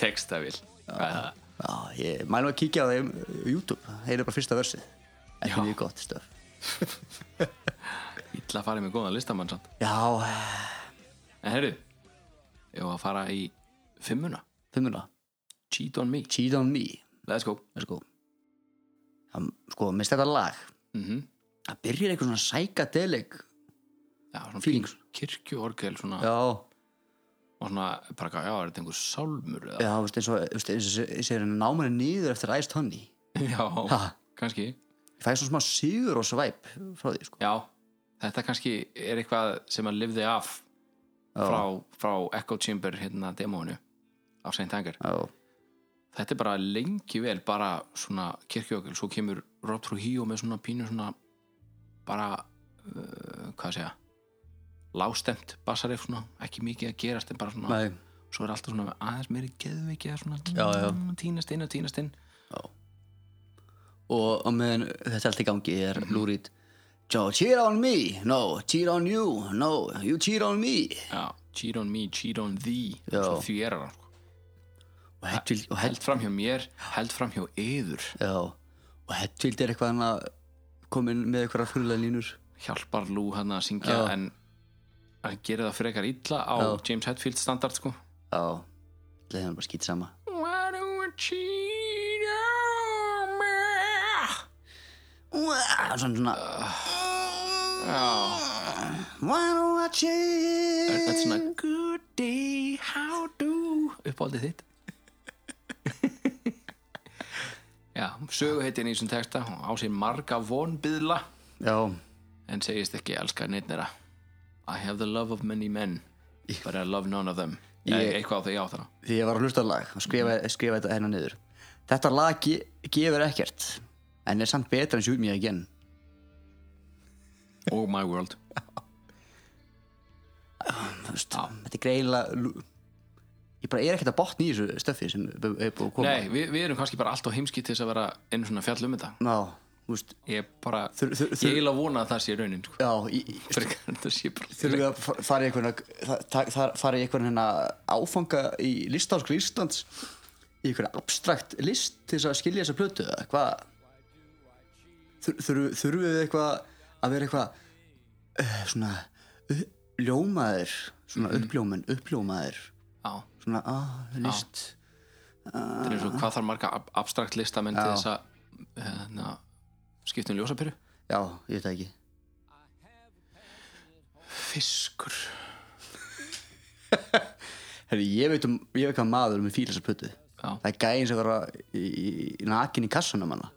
Speaker 7: Textavél. Já.
Speaker 6: já, ég mælum að kíkja á þeim uh, YouTube, þeir eru bara fyrsta versið þetta
Speaker 7: Já.
Speaker 6: er mjög gott stöf
Speaker 7: Ítla að fara með góðan listamann samt.
Speaker 6: já, eh,
Speaker 7: En herru, ég var að fara í fimmuna.
Speaker 6: fimmuna,
Speaker 7: Cheat on me.
Speaker 6: Cheat on Me
Speaker 7: Let's go.
Speaker 6: let's go það, sko, minnst þetta lag
Speaker 7: Mhm.
Speaker 6: það byrjar eitthvað svona psychedelic
Speaker 7: Já, svona
Speaker 6: Feelings.
Speaker 7: kirkjuorgel svona,
Speaker 6: já,
Speaker 7: og svona, bara, eitthvað, já, er þetta einhver sálmur eða?
Speaker 6: já, þú veist, eins og þú veist, eins og þessi er námæri niður eftir æst honni
Speaker 7: Já,
Speaker 6: Ha.
Speaker 7: kannski.
Speaker 6: ég fæði svona smá sigur og svæp frá því, sko
Speaker 7: Já, þetta kannski er eitthvað sem að lifði af frá, frá Echo Chamber hérna demóinu á St. Anger.
Speaker 6: já,
Speaker 7: Þetta er bara lengi vel bara svona kirkjökul, svo kemur Rob Trujillo með svona pínu svona bara uh, hvað að segja lástemt bassarif svona, ekki mikið að gerast en bara svona,
Speaker 6: Nei,
Speaker 7: svo er alltaf svona aðeins meiri geðveiki að svona
Speaker 6: Já, já.
Speaker 7: tínast inn og tínast inn
Speaker 6: og á meðan þetta er allt í gangi er
Speaker 7: Mhm.
Speaker 6: lúrít So cheer on me, no, cheer on you, no, you cheer on me
Speaker 7: já, cheat on me, cheat on thee
Speaker 6: Já.
Speaker 7: svo því er hann sko.
Speaker 6: og Hedfield, og held,
Speaker 7: held fram hjá mér, held fram hjá yður
Speaker 6: já, og Hedfield er eitthvað hann að komin með eitthvað frúlega línur
Speaker 7: hjálpar Lou hann að syngja
Speaker 6: Já.
Speaker 7: en hann gerir það frekar illa á
Speaker 6: Já.
Speaker 7: James Hetfield standard sko
Speaker 6: Já, leiði hann bara skýt sama
Speaker 7: Why do you cheat on me?
Speaker 6: Svona svona
Speaker 7: Já,
Speaker 6: Why do I
Speaker 7: er
Speaker 6: cheer
Speaker 7: þetta svona Good day, how do uppáldið þitt Já, sögu heitin í þessum texta hún á sér marga vonbyðla
Speaker 6: Já,
Speaker 7: en segist ekki elska neitt þeirra I have the love of many men but I love none of them
Speaker 6: Ég-
Speaker 7: Ég, eitthvað á þau, já þarna
Speaker 6: því ég var að hlusta á lag og skrifa, skrifa þetta hennar niður Þetta lag ge gefur ekkert en er samt betra en sjúð mér again
Speaker 7: Oh my world
Speaker 6: Þú veist, Þetta er greiðilega lú- Ég bara er ekkert að botna í þessu stöfi sem er bú- er búið að koma
Speaker 7: Nei, við, við erum kannski bara allt á heimski til þess að vera einu svona fjall um þetta
Speaker 6: Ná, þú veist
Speaker 7: Ég bara,
Speaker 6: Þur- þur- þur-
Speaker 7: ég eiginlega vona að það sé raunin sko.
Speaker 6: Já, í- í-
Speaker 7: Frekar en þetta sé bara
Speaker 6: þurfum við að fa- fara í einhvern það- það- það- fara í einhvern hérna áfanga í listáskri Íslands í einhvern abstrakt list til þess að skilja þessa plötu eða hvað Þur- þurfum þurfum við eitthvað að vera eitthvað uh, svona uh, ljómaður svona uppljómun, uppljómaður
Speaker 7: Já,
Speaker 6: svona ah, list
Speaker 7: þetta er eins og hvað þarf marga ab abstrakt listamenn til
Speaker 6: Já.
Speaker 7: þess að hérna, skipta um ljósapyru
Speaker 6: já, ég veit það ekki
Speaker 7: Fiskur
Speaker 6: Herri, ég veit um, ég veit hvað maður með fíla þessa plötu
Speaker 7: Já,
Speaker 6: það er gæðin sem vera í, í, í nakin í kassanum hana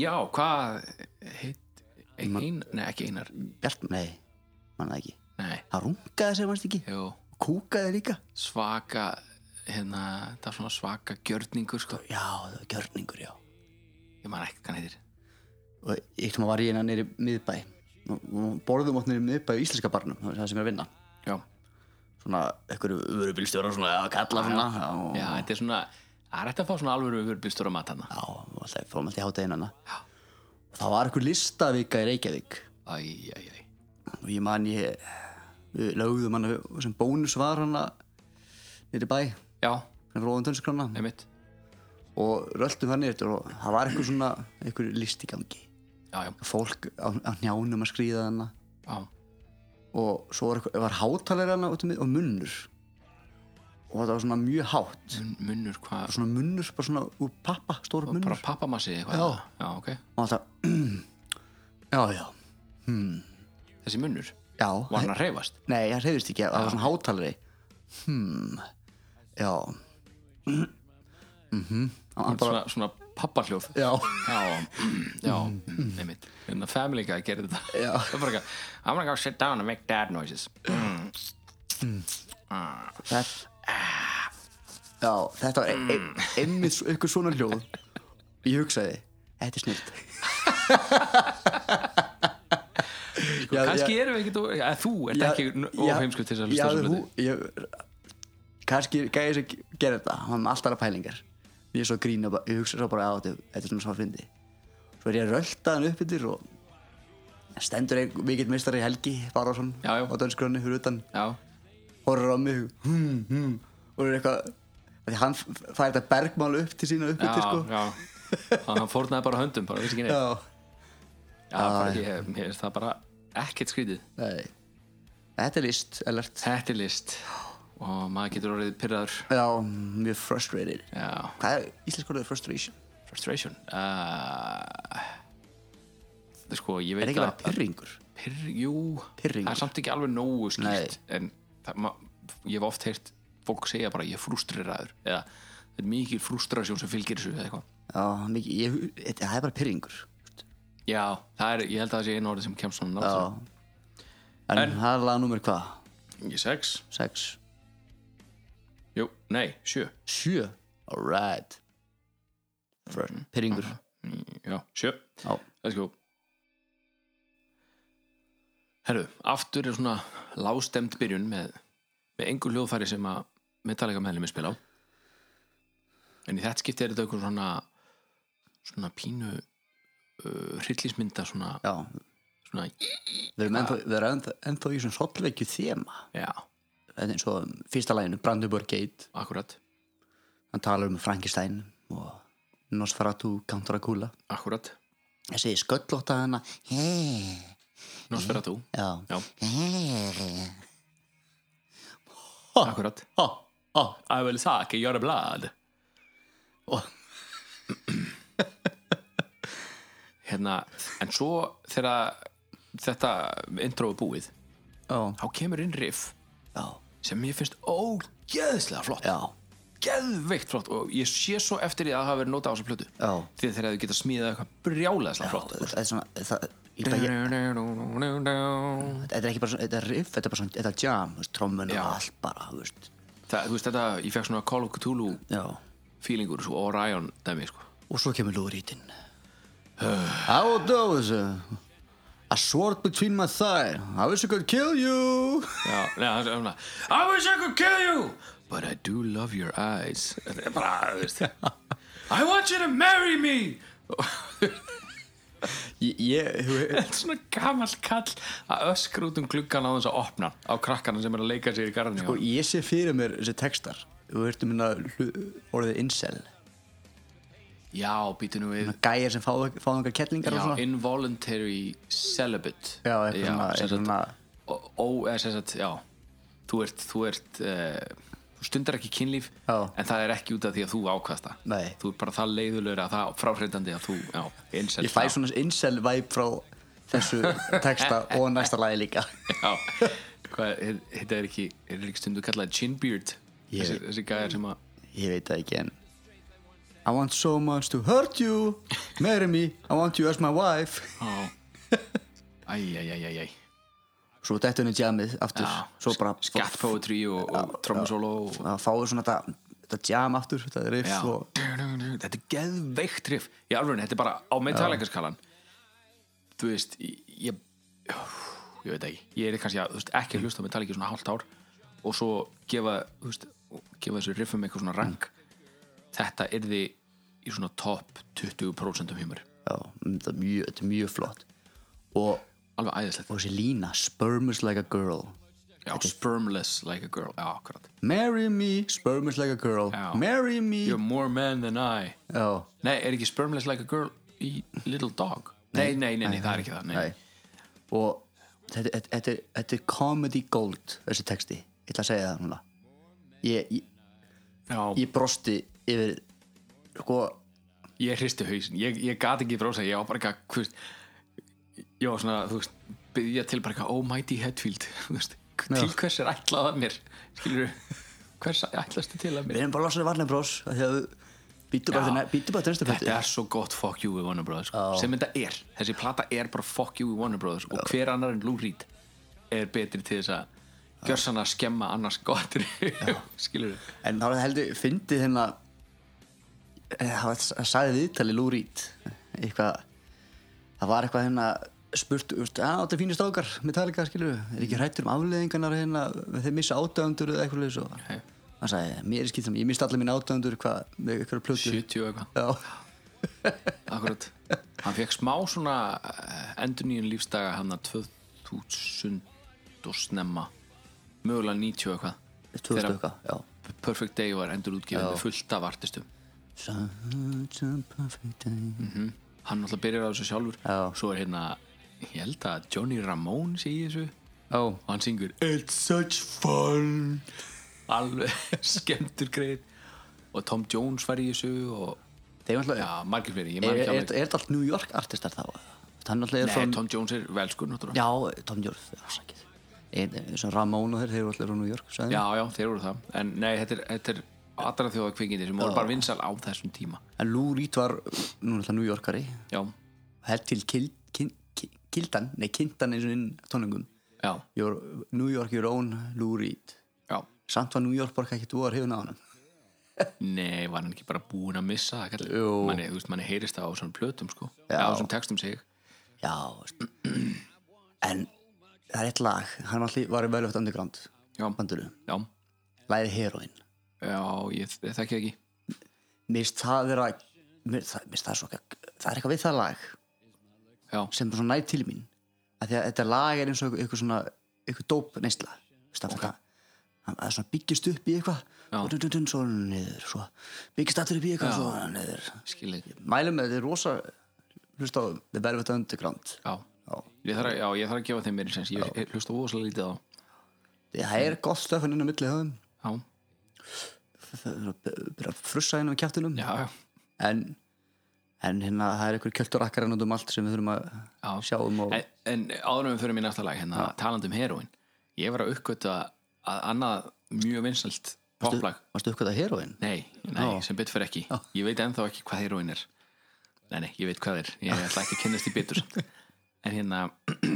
Speaker 7: Já hvað heit, ein, ein, Nei, ekki einar
Speaker 6: Bjart, nei, manna ekki
Speaker 7: Nei,
Speaker 6: það rungaði sem mannst ekki
Speaker 7: jú,
Speaker 6: kúkaði líka
Speaker 7: svaka hérna, það er svona svaka gjörningur sko.
Speaker 6: já, það var gjörningur, já
Speaker 7: Ég man ekki hvað hann heitir
Speaker 6: og eitt maður var ég hérna nýri miðbæ og og borðum átt nýri miðbæ í íslenska barnum það var það sem ég er að vinna
Speaker 7: Já,
Speaker 6: svona, ekkur vörubílstjóra svona að kalla svona já,
Speaker 7: Já þetta er svona Það er eftir að fá svona alvöru við bílstóra mat hana
Speaker 6: já, og alltaf, fórum alltaf í hátæðin hana og það var ekkur listavika í Reykjavík
Speaker 7: Æ, æ, æ
Speaker 6: og ég man ég við lögðum hana sem bónus var hana nýri bæ
Speaker 7: Já,
Speaker 6: fyrir ofan tönskrána
Speaker 7: einmitt
Speaker 6: og röltum þannig eftir og það var ekkur svona ekkur list í gangi
Speaker 7: Já, já,
Speaker 6: fólk á, á njánum að skrýða hana
Speaker 7: já
Speaker 6: og svo var, eitthvað- var hátalarana út um mið og munnur og þetta var svona mjög hátt
Speaker 7: Mun, munnur hvað
Speaker 6: svona munnur, bara svona úr pappa stóra munnur
Speaker 7: bara pappamassi eitthvað
Speaker 6: Já.
Speaker 7: eða? já, ok
Speaker 6: og þetta já, já,
Speaker 7: þessi munnur
Speaker 6: já
Speaker 7: var hann að hreyfast
Speaker 6: nei, það reyðist ekki, það var svona hátalari hmm, já mhm, mm hann bara,
Speaker 7: svona, svona pappahljóð
Speaker 6: já
Speaker 7: já, mm, já, mm, einmitt en að Family Guy gerði þetta
Speaker 6: Já.
Speaker 7: það var bara eitthvað I'm gonna go sit down and make dad noises
Speaker 6: Mm. þetta já, þetta var ein- ein- einmitt svo- eitthvað svona hljóð ég hugsaði, þetta er snilt já,
Speaker 7: kannski erum við ekki eða þú ert ekki ofheimsku til þess að hlusta á
Speaker 6: þessu
Speaker 7: þessu hluti
Speaker 6: hluti kannski gæði þess að gera þetta hann var alltaf aðra pælingar ég er svo að grína, og bara- ég hugsa svo bara á þetta þetta er svona svo að fyndi svo er ég að rölda hann upp yfir og stendur ein, mikill mistari Helgi Bárásson
Speaker 7: Já, já.
Speaker 6: á dönskrönni fyrir utan
Speaker 7: já,
Speaker 6: horfir á mig hmm, hmm, og er eitthvað af því hann f- fær þetta bergmál upp til sína
Speaker 7: já,
Speaker 6: uppbyttir sko
Speaker 7: já Hann- hann fórnaði bara höndum bara, vissi ekki neitt já,
Speaker 6: Já.
Speaker 7: bara, ég, mér finnst það bara ekkert skrítið
Speaker 6: Nei. þetta er list alert.
Speaker 7: þetta er list og maður getur orðið pyrraður
Speaker 6: já, mjög frustrated
Speaker 7: já,
Speaker 6: hvað er íslensk orðið frustration?
Speaker 7: frustration uh, það er sko, ég
Speaker 6: er
Speaker 7: veit
Speaker 6: ekki bara
Speaker 7: að
Speaker 6: pyrringur?
Speaker 7: pyrr, jú,
Speaker 6: Pirringur.
Speaker 7: það er samt ekki alveg nógu skýrt en það, ma, ég hef oft heyrt fólk segja bara ég er frústreraður eða þetta er mikil frústrasjón sem fylgir þessu eða eitthvað
Speaker 6: Já, mikið, ég, þetta- það er bara pyrringur
Speaker 7: já, það er, ég held að það sé einu orðið sem kemst svona
Speaker 6: Já
Speaker 7: náttúrulega
Speaker 6: En,
Speaker 7: En-
Speaker 6: það er lag nummer hvað?
Speaker 7: ég sex,
Speaker 6: Sex?
Speaker 7: jú, nei, sjö
Speaker 6: Sjö? Alright
Speaker 7: Mhm.
Speaker 6: Pyrringur
Speaker 7: Mm, já, sjö,
Speaker 6: Já
Speaker 7: let's go Herru, aftur er svona lágstemd byrjun með, með engu hljóðfæri sem að Metallica meðlum er spila á en í þetta skipti er þetta einhver svona svona pínu uh, hryllismynda svona,
Speaker 6: já,
Speaker 7: svona
Speaker 6: við erum ennþá, við erum ennþá, ennþá í svona hrollveikju þema
Speaker 7: já,
Speaker 6: þetta er eins og fyrsta læginu Brandenburg Gate
Speaker 7: akkurat,
Speaker 6: hann talar um Frankenstein og Nosferatu Counteracula
Speaker 7: akkurat
Speaker 6: þessi sköllóta hana hei,
Speaker 7: Nosferatu,
Speaker 6: já,
Speaker 7: já,
Speaker 6: hei
Speaker 7: akkurat
Speaker 6: ha, ha
Speaker 7: I will suck your blood
Speaker 6: og,
Speaker 7: hérna, en svo þegar þetta intro er búið
Speaker 6: já,
Speaker 7: þá kemur inn riff
Speaker 6: já,
Speaker 7: sem mér finnst ógeðslega flott
Speaker 6: já,
Speaker 7: geðveikt flott og ég sé svo eftir því að það hafa verið nota á þessa plötu
Speaker 6: já
Speaker 7: því að þeir hefðu getað smíðað eitthvað brjálæðslega flott
Speaker 6: þetta er svona það, ég, bara- ég, þetta er ekki bara svona, þetta er riff þetta er bara svona, þetta er jam, þú veist, trommun
Speaker 7: Já.
Speaker 6: og allt bara, þú veist
Speaker 7: það, þú veist þetta, ég fekk svona Call of Cthulhu
Speaker 6: já,
Speaker 7: feelingur svo Orion dæmi sko
Speaker 6: og svo kemur lúrítinn I will do this uh, a sword between my thigh I wish I could kill you
Speaker 7: já, neða, það er svona I wish I could kill you but I do love your eyes þetta er bara, þú veist I want you to marry me
Speaker 6: ég, ég, þú veist
Speaker 7: þetta er svona gamall kall að öskra út um gluggan á þess að opna á krakkana sem er að leika sér í garðinu
Speaker 6: og ég sé fyrir mér þessi textar þú veist um hérna hlu- orðið incel
Speaker 7: já, býtu nú við
Speaker 6: gæjar sem fá fá einhver kettlingar og
Speaker 7: já,
Speaker 6: svona
Speaker 7: involuntary celibate
Speaker 6: já, eitthvað svona,
Speaker 7: sem
Speaker 6: eitthvað
Speaker 7: sagt,
Speaker 6: svona
Speaker 7: ó- ó, eða sem sagt, já þú ert, þú ert uh, þú stundar ekki kynlíf
Speaker 6: Já.
Speaker 7: en það er ekki út af því að þú ákvast það
Speaker 6: Nei.
Speaker 7: þú er bara það leiðulegur að það fráhrindandi að þú, já, innsett
Speaker 6: ég fæ svona incel vibe frá þessu texta og næsta lagi líka
Speaker 7: já, hvað, þetta er ekki er ekki stundu kallað chinbeard
Speaker 6: Ég-
Speaker 7: þessi, þessi gæjar sem að
Speaker 6: ég veit það ekki en I want so much to hurt you marry me, I want you as my wife
Speaker 7: æ, æ, æ, æ, æ
Speaker 6: svo dættu henni jammið aftur
Speaker 7: Já,
Speaker 6: svo bara
Speaker 7: scat poetry og, og trommusólo og
Speaker 6: að fáið svona þetta, þetta jam aftur þetta riff
Speaker 7: Já.
Speaker 6: og
Speaker 7: Þetta er geðveikt riff Í alvörun, þetta er bara á metallicaskalan Þú veist ég, ég, ég veit ekki Ég er kannski að, þú veist, ekki að hlusta á Metallica í svona hálft ár og svo gefa þú veist, og gefa þessu riffum eitthvað svona rang Þetta yrði í svona top 20% um hjumur
Speaker 6: já, þetta er mjög, þetta er mjög flott og,
Speaker 7: Alveg æðislegt
Speaker 6: og þessi lína sperm is like a girl
Speaker 7: Já, spermless like a girl Já, akkurat
Speaker 6: marry me, sperm is like a girl
Speaker 7: Já.
Speaker 6: marry me
Speaker 7: You're more man than I
Speaker 6: já,
Speaker 7: Nei, er ekki spermless like a girl í Little Dog? Nei, nei, nei, nei, það er ekki það Nei,
Speaker 6: nei. og þetta, þetta, þetta, er- þetta er comedy gold þessi texti, ég ætla að segja það núna ég, ég,
Speaker 7: Já.
Speaker 6: ég brosti yfir sko,
Speaker 7: ég hristi hausin, ég, ég gat ekki brosa ég var bara eitthvað, þú veist ég var svona, þú veist, byggja til bara eitthvað almighty Hetfield, þú veist til hvers er ætlað að mér, skilur hvers ætlastu til að
Speaker 6: við
Speaker 7: mér
Speaker 6: erum bara losað varlega bros af því að býttu
Speaker 7: Já.
Speaker 6: bara til næstu plötu
Speaker 7: þetta er svo gott fuck you we Warner Brothers sko. sem þetta er, þessi plata er bara fuck you we Warner Brothers og hver annar en Lou Reed er betri til þess að gjörsan að skemma annars gott skilur
Speaker 6: en þá er það heldur, fyndið hérna eh, það var- það sagði viðtali Lou Reed eitthvað það var eitthvað hérna spurt, þú veist, að þetta er fínir stókar Metallica, skilur við, er ekki hrættur um afleðingarnar hérna, þeir missa átöfundur eða eitthvað leis og
Speaker 7: Nei.
Speaker 6: hann sagði, mér er skilt saman, ég mista allir mín átöfundur hvað, með eitthvað plötu
Speaker 7: 70 og eitthvað,
Speaker 6: Já,
Speaker 7: akkurat hann fekk smá svona endurníun lífsdaga hann að 2000 og snemma mögulega 90 og eitthvað
Speaker 6: 2000
Speaker 7: Þegar
Speaker 6: eitthvað, já
Speaker 7: Perfect Day var endur útgefið með fullt af artistum
Speaker 6: Such a perfect day
Speaker 7: hann alltaf byrjar á þessu sjálfur
Speaker 6: Já.
Speaker 7: svo er hérna, ég held að Johnny Ramone sé í þessu
Speaker 6: Já,
Speaker 7: og hann syngur It's such fun alveg skemmtur greið og Tom Jones var í þessu og
Speaker 6: þeir eru alltaf
Speaker 7: já, margir fleiri, ég
Speaker 6: Er,
Speaker 7: man
Speaker 6: er,
Speaker 7: ekki
Speaker 6: er
Speaker 7: alveg
Speaker 6: þetta allt New York artistar þá? Hann alltaf er
Speaker 7: Nei, Tom Jones er velskur náttúrulega
Speaker 6: Já, Tom Jörg, það er sækið Ein- Svo Ramón og þeir, þeir eru allir frá New York sagði
Speaker 7: Já, já, þeir voru það En nei, þetta er, þetta er allra þjóða kvikindi sem voru bara vinsal á þessum tíma
Speaker 6: hann. En Lou Reed var, nú er alltaf New Yorkari
Speaker 7: Já,
Speaker 6: Held til kild, kild, kild, Kildan, nei, Kindan eins og inn tónungum
Speaker 7: já,
Speaker 6: Your, New York, your own Lou Reed
Speaker 7: já
Speaker 6: Samt var New York borg ekkert voru hefuna á hann
Speaker 7: Nei, var hann ekki bara búinn að missa það kallar
Speaker 6: Jú.
Speaker 7: Manni, þú veist, manni heyrist það á svona plötum sko
Speaker 6: Já.
Speaker 7: Já, á svona textum sig
Speaker 6: Já, veist. en það er eitt lag hann var alltaf var í Velvet Underground
Speaker 7: Já.
Speaker 6: bandinu,
Speaker 7: já,
Speaker 6: lagið Heroin
Speaker 7: já, ég ég þekki það ekki
Speaker 6: mér finnst það vera mér það, mér finnst það, svo, það er eitthvað við það lag
Speaker 7: Já,
Speaker 6: sem bara svona nætt til mín af því að þetta lag er eins og eitthvað svona eitthvað dóp neysla okay. það, það er svona byggjast upp í eitthvað
Speaker 7: Já.
Speaker 6: og dun, dun, dun, svo niður svo byggjast aftur upp í eitthvað svo niður
Speaker 7: skilið
Speaker 6: mælum með þetta er rosa hlust á The Velvet Underground
Speaker 7: Já,
Speaker 6: Já.
Speaker 7: ég þarf, að- já, ég þarf að gefa þeim meiri sens Ég ég hlusta óslega lítið á
Speaker 6: það er gott stöfn inn á milli höfum
Speaker 7: Já,
Speaker 6: það er að byrja að frussa inn á kjáttunum
Speaker 7: já, já,
Speaker 6: en, en hérna það er einhver kjölturakkar út um allt sem við þurfum að
Speaker 7: já.
Speaker 6: sjá um og
Speaker 7: En, en áðurum við fyrir mér næsta lag hérna, talandi um heroin Ég var að uppgöta að annað mjög vinsalt poplag
Speaker 6: varstu uppkvæða heroin
Speaker 7: Nei, nei,
Speaker 6: Já.
Speaker 7: sem betur fyrir ekki Ég veit ennþá ekki hvað heroin er Nei, nei, ég veit hvað er Ég ætla ekki að kynnast í betur samt. En hérna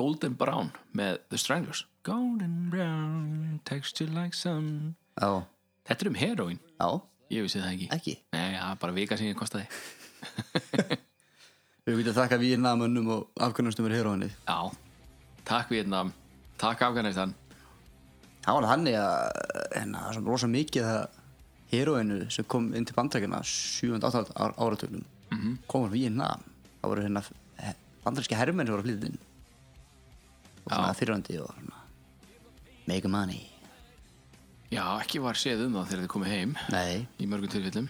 Speaker 7: Golden Brown með The Stranglers Golden Brown Texture like sun
Speaker 6: já,
Speaker 7: Þetta er um heroin,
Speaker 6: já,
Speaker 7: ég vissi það ekki
Speaker 6: ekki
Speaker 7: Nei, það er bara vika sem ég kostaði
Speaker 6: við getum þakka við namönnum og afgrunnastum er heroinið
Speaker 7: Já, takk Vietnam Takk Afganistan
Speaker 6: það var þannig að hérna, það var rosa mikið það heroinu sem kom inn til bandrækina 7-8 áratögnum mm
Speaker 7: Mhm.
Speaker 6: -hmm. komur við hérna það voru hérna bandrækski herrmenn sem voru að flytja inn og svona fyrirandi og svona make money
Speaker 7: Já, ekki var séð um það þegar þið komið heim
Speaker 6: nei,
Speaker 7: Í mörgum tilfellum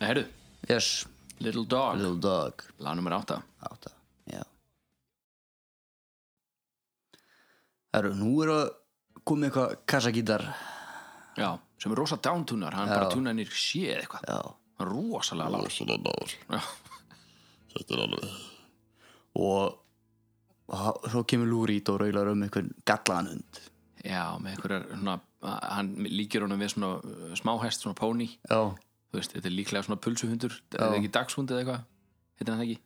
Speaker 7: Nei, herru,
Speaker 6: yes,
Speaker 7: Little Dog
Speaker 6: little dog
Speaker 7: Lag nummer átta
Speaker 6: átta, já Það eru, nú eru að komið eitthvað kassagítar
Speaker 7: Já, sem er rosa downtunar Hann bara tunar nýr séð eitthvað
Speaker 6: Já,
Speaker 7: Rosalega lag Já,
Speaker 6: og, og svo kemur Lúrít og raular um einhvern gallaðan hund
Speaker 7: já með einhverjar svona, Hann líkir honum við svona uh, smáhest, svona póni
Speaker 6: Já,
Speaker 7: Þú veist, þetta er líklega svona pulsuhundur Þetta er ekki dagshund eða eitthvað Heitir hann það ekki?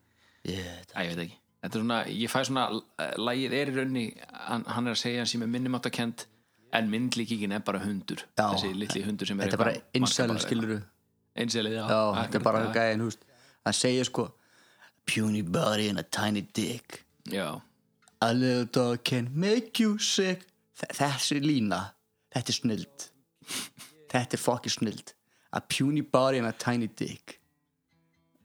Speaker 6: ég,
Speaker 7: Æ, ég veit ekki Þetta er svona, ég fæ svona uh, Lægið er í raunni, hann, hann er að segja hann sem er minnumáttakend En myndlíkingin er bara hundur
Speaker 6: Já.
Speaker 7: Þessi litli hundur sem er
Speaker 6: þetta er bara
Speaker 7: eitthvað-
Speaker 6: innsælinn
Speaker 7: markað bara-
Speaker 6: skiluru
Speaker 7: Einselið, já,
Speaker 6: Já, þetta er bara
Speaker 7: akkurat,
Speaker 6: gæðin, húst Það segir sko Puny body and a tiny dick
Speaker 7: Já,
Speaker 6: A little dog can make you sick Þe- Þessi lína Þetta er snild Þetta er fokki snild A puny body and a tiny dick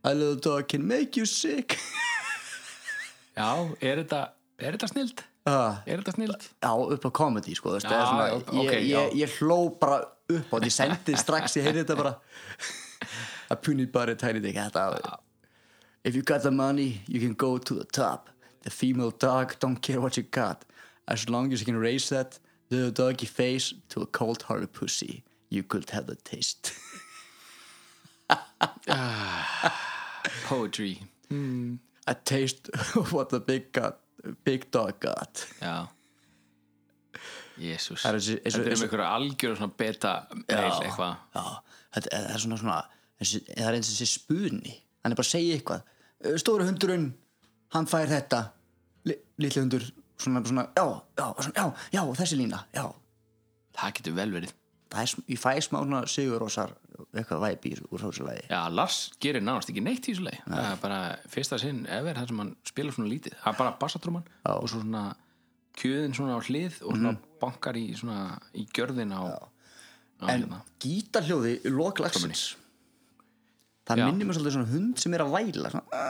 Speaker 6: A little dog can make you sick
Speaker 7: já er, þetta, er þetta snild?
Speaker 6: Ah,
Speaker 7: Er þetta snild?
Speaker 6: Já, upp á comedy sko, já,
Speaker 7: Já,
Speaker 6: svona,
Speaker 7: já, ok,
Speaker 6: ég, ég,
Speaker 7: já.
Speaker 6: ég hló bara upp á því sendi strax, ég heyrði þetta bara A puny body and a tiny dick þetta, If you got the money you can go to the top The female dog don't care what you got As long as you can raise that little doggy face to a cold hearted pussy You could have the taste
Speaker 7: Poetry
Speaker 6: A taste of what the big, got, big dog got
Speaker 7: Já Jésús
Speaker 6: Það er þessi-
Speaker 7: Þetta er um
Speaker 6: þessi-
Speaker 7: einhverja algjör svona beta mail eitthvað
Speaker 6: Já, þetta það er svona svona þessi, það er eins og þessi spuni hann er bara að segja eitthvað stóri hundurinn, hann fær þetta li, litli hundur svona, svona, já, já, svona, já, já, þessi lína já,
Speaker 7: Það getur vel verið
Speaker 6: það er, sm- ég fæ smá svona sigurósar eitthvað væpi í- úr hrósulagi
Speaker 7: Já, Lars gerir nánast ekki neitt í þessu leið Það er bara fyrsta sinn efer þar sem hann spilar svona lítið Það er bara bassatruman og svo svona kjöðin svona á hlið og
Speaker 6: Mhm.
Speaker 7: svona bankar í svona í gjörðin á, á
Speaker 6: en
Speaker 7: hérna.
Speaker 6: gítarhljóði í lok lagsins það
Speaker 7: Já.
Speaker 6: minnir mér svolítið svona hund sem er að væla svona,
Speaker 7: Já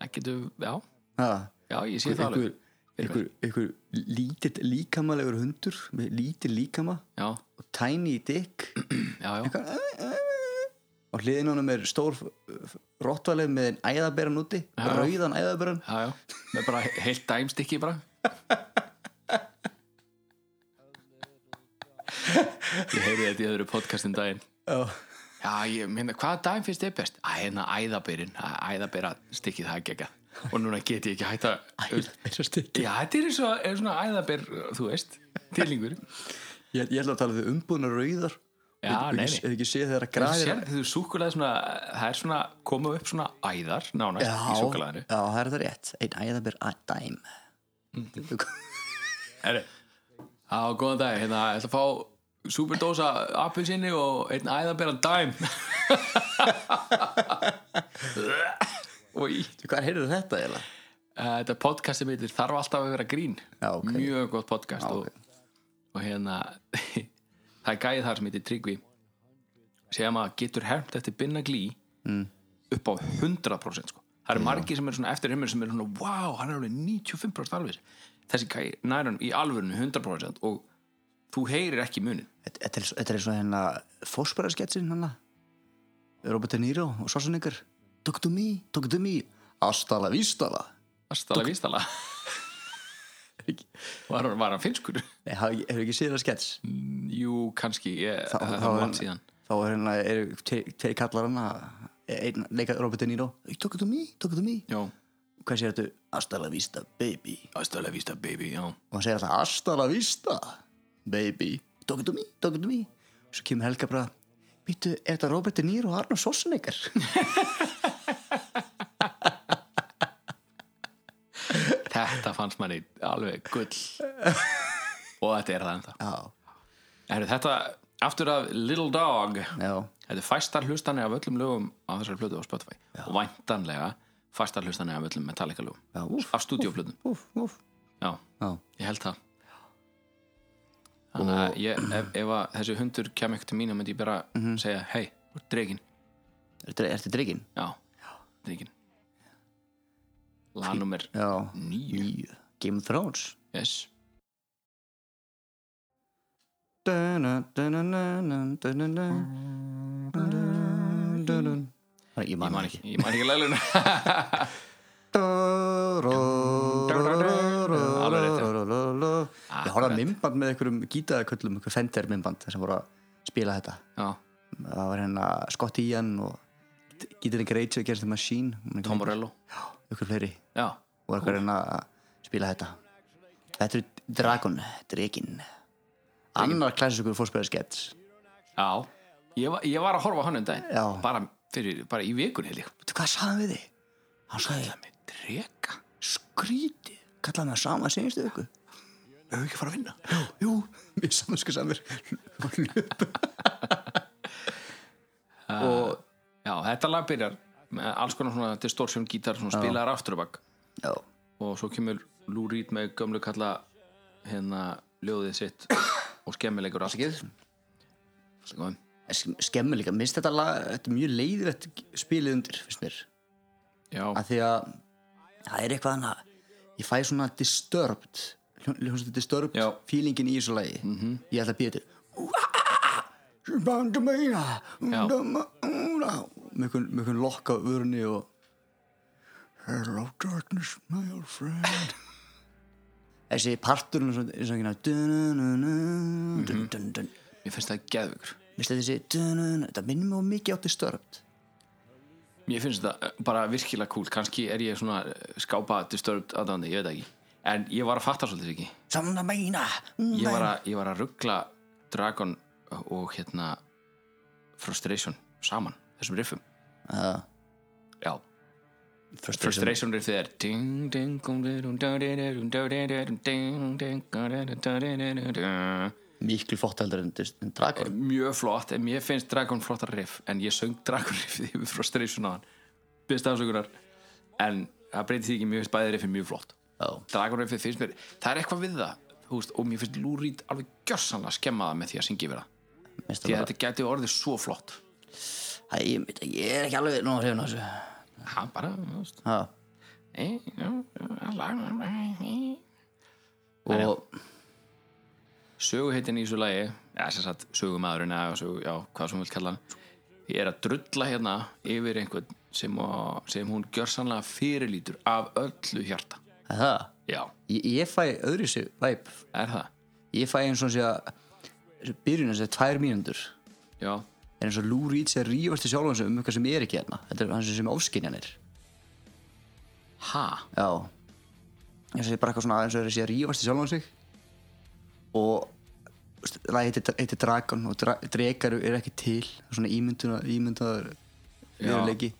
Speaker 7: Það getur, já,
Speaker 6: að,
Speaker 7: já, ég sé það
Speaker 6: "Ah." einhver,
Speaker 7: alveg
Speaker 6: einhver, einhver lítill líkamalegur hundur með lítill líkama
Speaker 7: Já,
Speaker 6: og tiny dick
Speaker 7: já, já,
Speaker 6: og hliðin honum er stór rottvalið með einn æðaberan úti rauðan æðaberan
Speaker 7: já, já Með bara heilt dæmstykki bara Ég heyrði þetta í öðru podcastin daginn
Speaker 6: Já.
Speaker 7: Já, ég meina, hvaða daginn finnst þið best? Æ, hérna æðaberin, æðabera stykkið það ekki ekki Og núna get ég ekki hætt að
Speaker 6: ég,
Speaker 7: Já, þetta er, svo, er svona æðaber, þú veist, tilingur
Speaker 6: ég ætla að tala þau umbúðna rauðar
Speaker 7: Já, nei, nei.
Speaker 6: eða ekki séð þeirra
Speaker 7: Þú
Speaker 6: græðir
Speaker 7: sér þú súkulega svona, það er svona, koma upp svona æðar, nánast,
Speaker 6: já,
Speaker 7: í
Speaker 6: já,
Speaker 7: súkulaðinu
Speaker 6: það er það rétt einn æðaber að dæm
Speaker 7: Mhm. Herri, á, góðan dag, hérna, ég ætla að fá superdósa appelsinni og einn æðaberan dæm Í,
Speaker 6: Hvað heyrðu þetta eiginlega?
Speaker 7: Eh, þetta er podcast sem heitir þarf alltaf að vera grín
Speaker 6: Já, ok.
Speaker 7: mjög gott podcast og, og hérna það er gæði þar sem heitir Tryggvi sem að getur hermt eftir binna glý
Speaker 6: Mm.
Speaker 7: upp á 100% sko. það eru margir sem eru svona eftir heimur sem eru svona wow, hann er alveg 95% alveg þessi gæði nær hann í alvörinu 100% og þú heyrir ekki munin
Speaker 6: Þetta- Þetta er, þetta er svo hérna fósbæðarsketsin hérna Robert De Niro og Svarsonigur Talk to me, talk to me Astala vístala
Speaker 7: Astala vístala var, hann- var hann finnskur?
Speaker 6: Nei, hafi- Hefur ekki séð það skets?
Speaker 7: Jú, kannski, ég,
Speaker 6: Þá-
Speaker 7: það,
Speaker 6: þá
Speaker 7: það
Speaker 6: er-
Speaker 7: var hann síðan
Speaker 6: Þá er hérna, eru tveir tveir kallar hana Einn leikað Robert De Niro Talk to me, talk to me
Speaker 7: Já,
Speaker 6: Hvað sér þetta? Astala vísta, baby
Speaker 7: Astala vísta baby, já
Speaker 6: Og hann segir alltaf Astala vísta, baby Talk to me, talk to me Svo kemur Helga bara Býttu, er þetta Robert De Niro og Arnold Svarsonigur?
Speaker 7: Þetta fannst manni alveg gull og þetta er það ennþá
Speaker 6: Já,
Speaker 7: Heru, Þetta, aftur af Little Dog
Speaker 6: já
Speaker 7: Þetta er fæstar hlustanir af öllum lögum á þessari plötu á Spotify og væntanlega fæstar hlustanir af öllum Metallica lögum
Speaker 6: Já, úff,
Speaker 7: af stúdíoflötum,
Speaker 6: Úf, úf
Speaker 7: já,
Speaker 6: Já,
Speaker 7: ég held það Þannig að ég, ef, ef að þessi hundur kem ekki til mín þá myndi ég bara
Speaker 6: Mhm.
Speaker 7: segja, hei, þú ert dregin
Speaker 6: er þetta dreygin?
Speaker 7: Já, dregin Lagnúmer
Speaker 6: Já,
Speaker 7: nýju,
Speaker 6: nýju Game of Thrones
Speaker 7: yes
Speaker 6: Dun-dun, dun-dun-dun-dun, dun-dun-dun. Dun-dun, dun-dun. Æ, Ég
Speaker 7: Ég
Speaker 6: man
Speaker 7: man
Speaker 6: ekki
Speaker 7: ekki, ég man ekki leilun Alveg rétt, já.
Speaker 6: Ég horfði
Speaker 7: Akkurat.
Speaker 6: að mymband með einhverjum gítaköllum, einhver Fender mymband sem voru að spila þetta
Speaker 7: Já,
Speaker 6: Það var hérna Scott Ian og gítarinn Rage Against the Machine hún er ekki-
Speaker 7: Tom Morello
Speaker 6: Ykkur fleiri
Speaker 7: Já,
Speaker 6: og er hverjum að spila þetta Þetta er Dragon, Dregin annar klassikur fórspæðarskett
Speaker 7: já Ég var, ég var að horfa á hann um daginn
Speaker 6: Já.
Speaker 7: bara, fyrir, bara í vikun heil ég
Speaker 6: Veitu hvað sagði hann við þig? Hann sagði,
Speaker 7: Dreka,
Speaker 6: skrítið kallaði hann sama síðustu viku
Speaker 7: hefur ekki fara að vinna
Speaker 6: Jú, jú, mér samansku samir og
Speaker 7: Já, þetta lag byrjar með alls konar svona distortion gítar svona spilaðar aftur á bak
Speaker 6: já,
Speaker 7: og svo kemur Lou Reed með gömlu kalla hérna ljóðið sitt og skemmilegur allt Allt í góðu.
Speaker 6: skemmur líka, minnst þetta lag þetta er mjög leiðilegt spilið undir finnst mér,
Speaker 7: Já,
Speaker 6: að því að það er eitthvað annað ég fæ svona disturbed hljón- hljómsveit disturbed
Speaker 7: Já. Mhm.
Speaker 6: feelingin í þessu lagi -hmm. ég ætla að býja þetta með einhvern lokk á urni og Hello darkness my old friend þessi partur eins og eins og ekki
Speaker 7: Mhm.
Speaker 6: dun dun
Speaker 7: mér finnst það geðvökur
Speaker 6: Vistu þessi dun-dun-dun, Þetta minnum mig of mikið á disturbed
Speaker 7: Mér finnst þetta bara virkilega cool Kannski er ég svona eh, skápa disturbed aðdáðandi, ég veit það ekki En ég var að fatta svolítið ekki
Speaker 6: Samna um meina
Speaker 7: Ég var að, ég var að ruggla Dragon og hérna Frustration saman Þessum riffum
Speaker 6: Já.
Speaker 7: Já, Frustration riffið er ding, ding, dum, dum, dum, dum, dum, dum, dum, dum, ding, ding, dum, dum, dum, dum, dum, dun.
Speaker 6: Miklu fóttaldur en dist- en dragon
Speaker 7: Mjög flott, en mér finnst Dragon flottar riff En ég söng Dragon riffið yfir Frustration á hann Byrst afsökunar En það breytir því ekki, mér finnst bæði riffið mjög flott
Speaker 6: Já.
Speaker 7: Dragon riffið finnst mér Það er eitthvað við það, þú veist Og mér finnst Lou Reed alveg gjörsanlega skemma það með því að syngja yfir það
Speaker 6: Mér finnst
Speaker 7: Því að
Speaker 6: það bara-
Speaker 7: þetta gæti orðið svo flott
Speaker 6: Æ, Ég veit ekki, ég er ekki alveg nú að hrifna þessu
Speaker 7: Ha, bara, þú veist
Speaker 6: Já.
Speaker 7: eh, já, já, lag, eh.
Speaker 6: Og
Speaker 7: Söguheitin í þessu lagi Já, sem sagt, sögumæðurinn eða sögu, Já, hvað sem hún vil kalla hann Ég er að drulla hérna yfir einhvern sem, á- sem hún gjörsanlega fyrirlítur af öllu hjarta
Speaker 6: það
Speaker 7: Já,
Speaker 6: Ég, ég fæ öðru sér væp
Speaker 7: er það?
Speaker 6: Ég fæ eins og sé að byrjun þessi tvær mínundur
Speaker 7: Já,
Speaker 6: er eins og Lou Reed sé að rífast í sjálfan sig um eitthvað sem er ekki hérna Þetta er hans sem ofskinjanir
Speaker 7: ha,
Speaker 6: Já eins og ég bara eitthvað svona aðeins og er að sé að rífast í sjálfan sig og veist, lagið heitir heiti Dragon og dra, drekar er ekki til það er svona ímynduna, ímyndaður veruleiki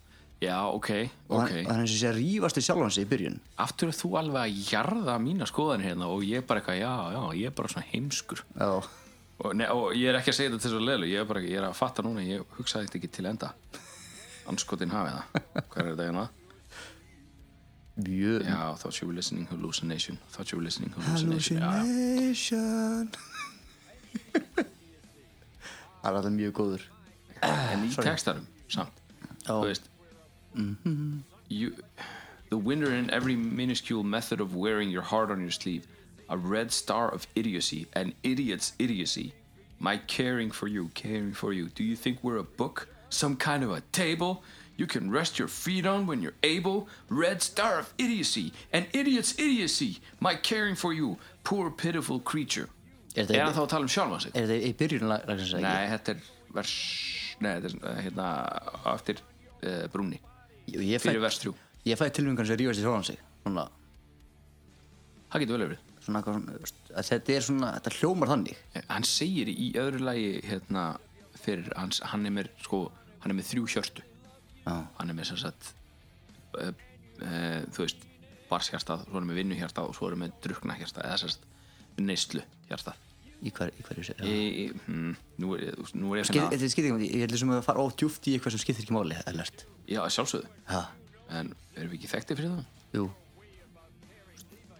Speaker 7: já, ok,
Speaker 6: og
Speaker 7: ok
Speaker 6: hann- og hann er eins og sé að rífast í sjálfan sig í byrjun
Speaker 7: Aftur er þú alveg að jarða mína skoðan hérna og ég bara eitthvað, já, já, ég er bara svona heimskur
Speaker 6: Já,
Speaker 7: og, ne, og ég er ekki að segja þetta til svo leilu ég er bara ekki, ég er að fatta núna, ég hugsaði þetta ekki til enda anskotin hafið það hvað er þetta hérna?
Speaker 6: Mjög
Speaker 7: Já, thought you were listening hallucination thought you were listening hallucination, hallucination.
Speaker 6: Hallucination Það er alltaf mjög góður
Speaker 7: Já, en í textarum samt
Speaker 6: Já,
Speaker 7: þú veist you, the winner in every minuscule method of wearing your heart on your sleeve a red star of idiocy an idiot's idiocy my caring for you caring for you do you think we're a book some kind of a table you can rest your feet on when you're able red star of idiocy an idiot's idiocy my caring for you poor pitiful creature
Speaker 6: er
Speaker 7: er hann
Speaker 6: þetta
Speaker 7: þá að tala um sjálfan sig
Speaker 6: er þetta í byrjun lagsins
Speaker 7: nei, þetta er vers nei, þetta er uh, hérna á eftir uh, brúni
Speaker 6: ég, ég fæ,
Speaker 7: fyrir vers 3
Speaker 6: ég fæ tilfengan sem rífast í sjálfan sig svona,
Speaker 7: það getur vel verið
Speaker 6: svona, eitthvað svona veist, að þetta er svona, þetta hljómar þannig
Speaker 7: hann segir í öðru lagi hérna, fyrir hans, hann er með sko, hann er með þrjú hjörtu
Speaker 6: Já.
Speaker 7: hann er með sem sagt uh, uh, þú veist barshjartað, svo er hann með vinnuhjartað og svo er hann með druknahjartað eða sem sagt neyslu hjartað
Speaker 6: í hver, í hverju sér
Speaker 7: e, e, mm, nú, er, ég- nú er ég að finna
Speaker 6: Þetta er skýtingum, ég ætlum sem að fara ódjúft í eitthvað sem skiptir ekki máli, ellert
Speaker 7: já, að sjálfsögðu,
Speaker 6: Ha,
Speaker 7: en erum við ekki þekktið fyrir það?
Speaker 6: jú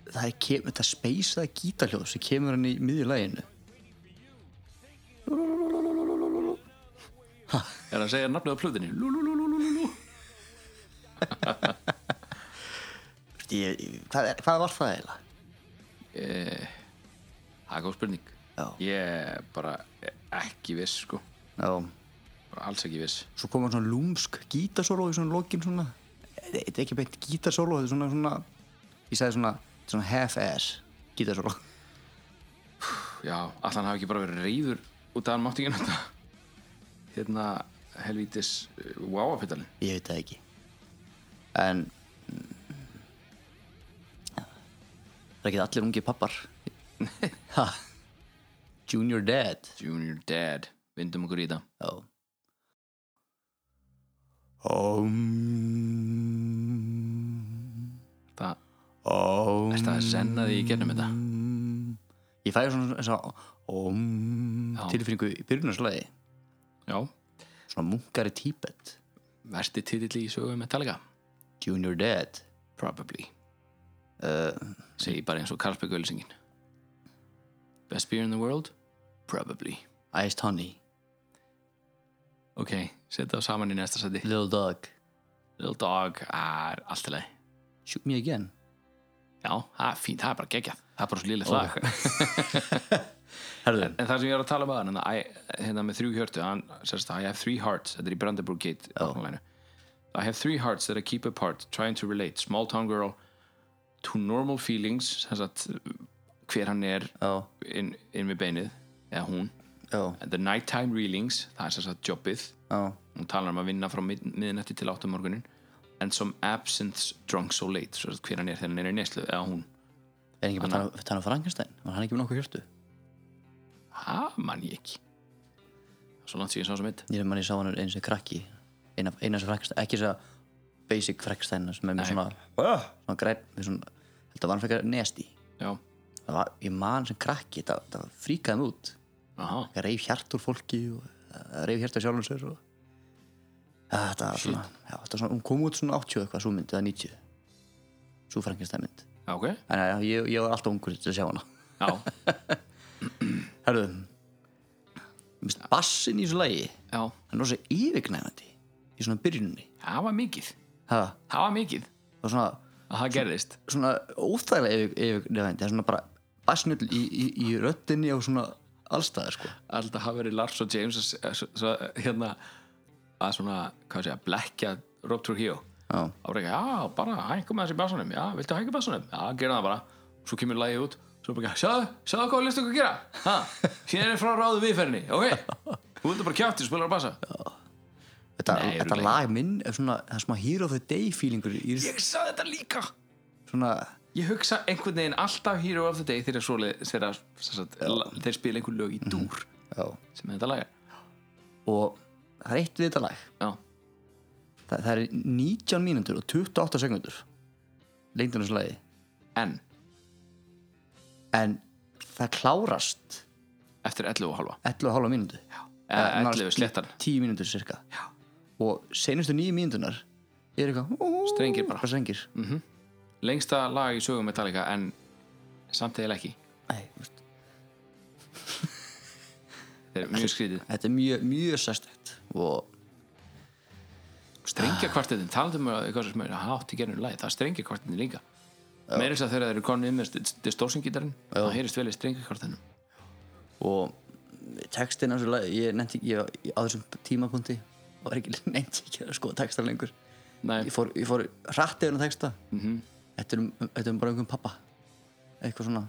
Speaker 6: Það er kem, þetta speysaða gítarhljóð sem kemur hann í miðju læginu
Speaker 7: er að segja nafnið á plöðinni lúlúlúlúlúlú
Speaker 6: ég, ég- hvað, er, hvað var það eiginlega?
Speaker 7: það er góð spurning
Speaker 6: Já.
Speaker 7: ég er bara ekki viss sko,
Speaker 6: Já,
Speaker 7: bara alls ekki viss
Speaker 6: svo kom hann svona lúmsk gítarsóló í svona lokin svona þetta þetta er ekki beint gítarsóló, þetta er svona, svona ég sagði svona, þetta er svona half-ass gítarsóló
Speaker 7: Já, allan hafi ekki bara verið reyður út af hann mátti ekki nota hérna helvítis uh, wow-apitalin
Speaker 6: ég veit það ekki en mm, það er ekki allir ungi pappar ha junior dad
Speaker 7: Junior Dad, vindum okkur í þetta
Speaker 6: já um,
Speaker 7: Það,
Speaker 6: um,
Speaker 7: erst að senna því í gennum þetta
Speaker 6: ég fæði svona, svona om,
Speaker 7: Já.
Speaker 6: tilfinningu í byrjunarslagi
Speaker 7: Já,
Speaker 6: svona munkari Tíbet
Speaker 7: versti titill í sögu Metallica
Speaker 6: Junior Dead
Speaker 7: Probably uh, Segir bara eins og Karlsberg Ölsingin Best beer in the world? Probably
Speaker 6: Iced Honey
Speaker 7: Ok, setja það saman í næsta seti
Speaker 6: Little Dog
Speaker 7: Little Dog, ah, er allt í lagi
Speaker 6: Shoot Me Again
Speaker 7: Já, það er fínt, það er bara geggjað Það er bara svo lillið lag
Speaker 6: Herðu
Speaker 7: En það sem ég var að tala um aðan hérna með þrjú hjörtu hann, sérst, I have three hearts, þetta er í Brandenburg Gate nákvæmlega. I have three hearts that I keep apart trying to relate, small town girl to normal feelings sérst, hver hann er
Speaker 6: Já.
Speaker 7: inn, inn við beinið eða hún,
Speaker 6: Já,
Speaker 7: And the nighttime reelings það er sérst, jobbið
Speaker 6: já
Speaker 7: hún talar um að vinna frá mið, miðnætti til áttum morgunin and some absinthe drunk so late sérst, hver hann er þegar hann er í neslu eða hún,
Speaker 6: Er ekki bara að tala um Frankenstein? Var hann ekki með nokkuð hjörtu?
Speaker 7: ha, mann ég ekki svo langt sér ég sá sem eitt
Speaker 6: Ég er manni sá hann eins og krakki Eina, eina sem Frankenstein Ekki þess að basic Frankenstein sem er með svona Svona græn með svona Þetta var hann frekar nasty
Speaker 7: já,
Speaker 6: Það var, ég man sem krakki Það, það fríkaði mig út
Speaker 7: aha
Speaker 6: Það reif hjart úr fólki og það reif hjart úr sjálfum sér og Ja, Þetta var svona, já, þetta var svona, hún kom út svona 80 eitthvað, svo mynd, eða 90 Svo Frankenstein mynd
Speaker 7: Já, ok,
Speaker 6: En já, ég, ég var alltaf ungur til að sjá hana
Speaker 7: já,
Speaker 6: Herðu Mér finnst bassin í þessu lagi
Speaker 7: já
Speaker 6: hann er rosa yfirgnæfandi í svona byrjunni
Speaker 7: það var mikið,
Speaker 6: ha,
Speaker 7: það var mikið
Speaker 6: og svona,
Speaker 7: að það gerðist
Speaker 6: svona óþægilega yfir, yfirgnæfandi, það er svona bara bassnull í, í, í röddinni og svona allstaðar sko
Speaker 7: alltaf hafa verið Lars og James að, s- að, s- að, hérna, að svona, hvað sé, að blekja Rob Trujillo
Speaker 6: Já.
Speaker 7: og bara, já, bara hækka með þessi bassanum já, viltu hækka bassanum, já, gera það bara svo kemur lagið út, svo bara, sjáðu, sjáðu hvað listu okkur að gera, ha, síðan er frá ráðu viðferðinni, ok, þú viltu bara kjátti og spilar á bassa,
Speaker 6: þetta,
Speaker 7: Nei,
Speaker 6: þetta
Speaker 7: örugglega
Speaker 6: lag minn er svona, það er smá hero of the day feelingur í þessu
Speaker 7: ég sagði þetta líka
Speaker 6: svona,
Speaker 7: ég hugsa einhvern veginn alltaf Hero of the Day þegar svoleið, þegar sem sagt, la- þeir spila einhver lög í dúr
Speaker 6: já
Speaker 7: sem þetta lagar,
Speaker 6: og það er eitt við þetta lag
Speaker 7: já,
Speaker 6: Þa, það er 19 mínútur og 28 sekundur lengdun þessu lagi
Speaker 7: en
Speaker 6: en það klárast
Speaker 7: eftir 11 og Eh, halva
Speaker 6: 11 og halva mínútu
Speaker 7: eða
Speaker 6: nánast
Speaker 7: 11 slettan
Speaker 6: 10 mínútur cirka Já. og seinustu nýju mínútunar er eitthvað
Speaker 7: Strengir bara. Mm.
Speaker 6: strengir.
Speaker 7: lengsta lag í sögum Metallica en samt eða ekki
Speaker 6: Nei, þú veist,
Speaker 7: þetta er mjög skrítið
Speaker 6: þetta er mjög, mjög sérstætt og
Speaker 7: strengja kvartetin, talaðu um að eitthvað sem er hátt í gerinu lagi, það er strengja kvartetin líka meira þess að þegar þeir eru konið með distortion-gítarinn, það heyrist vel í strengja kvartetinum
Speaker 6: og textin á þessu lagi, ég nefndi ekki ég, ég, á þessum tímapunkti var ekki nefndi ekki að skoða texta lengur
Speaker 7: Nei.
Speaker 6: ég fór, ég fór rætti yfir að texta -hmm. þetta, er um, þetta er um bara einhvern pappa eitthvað svona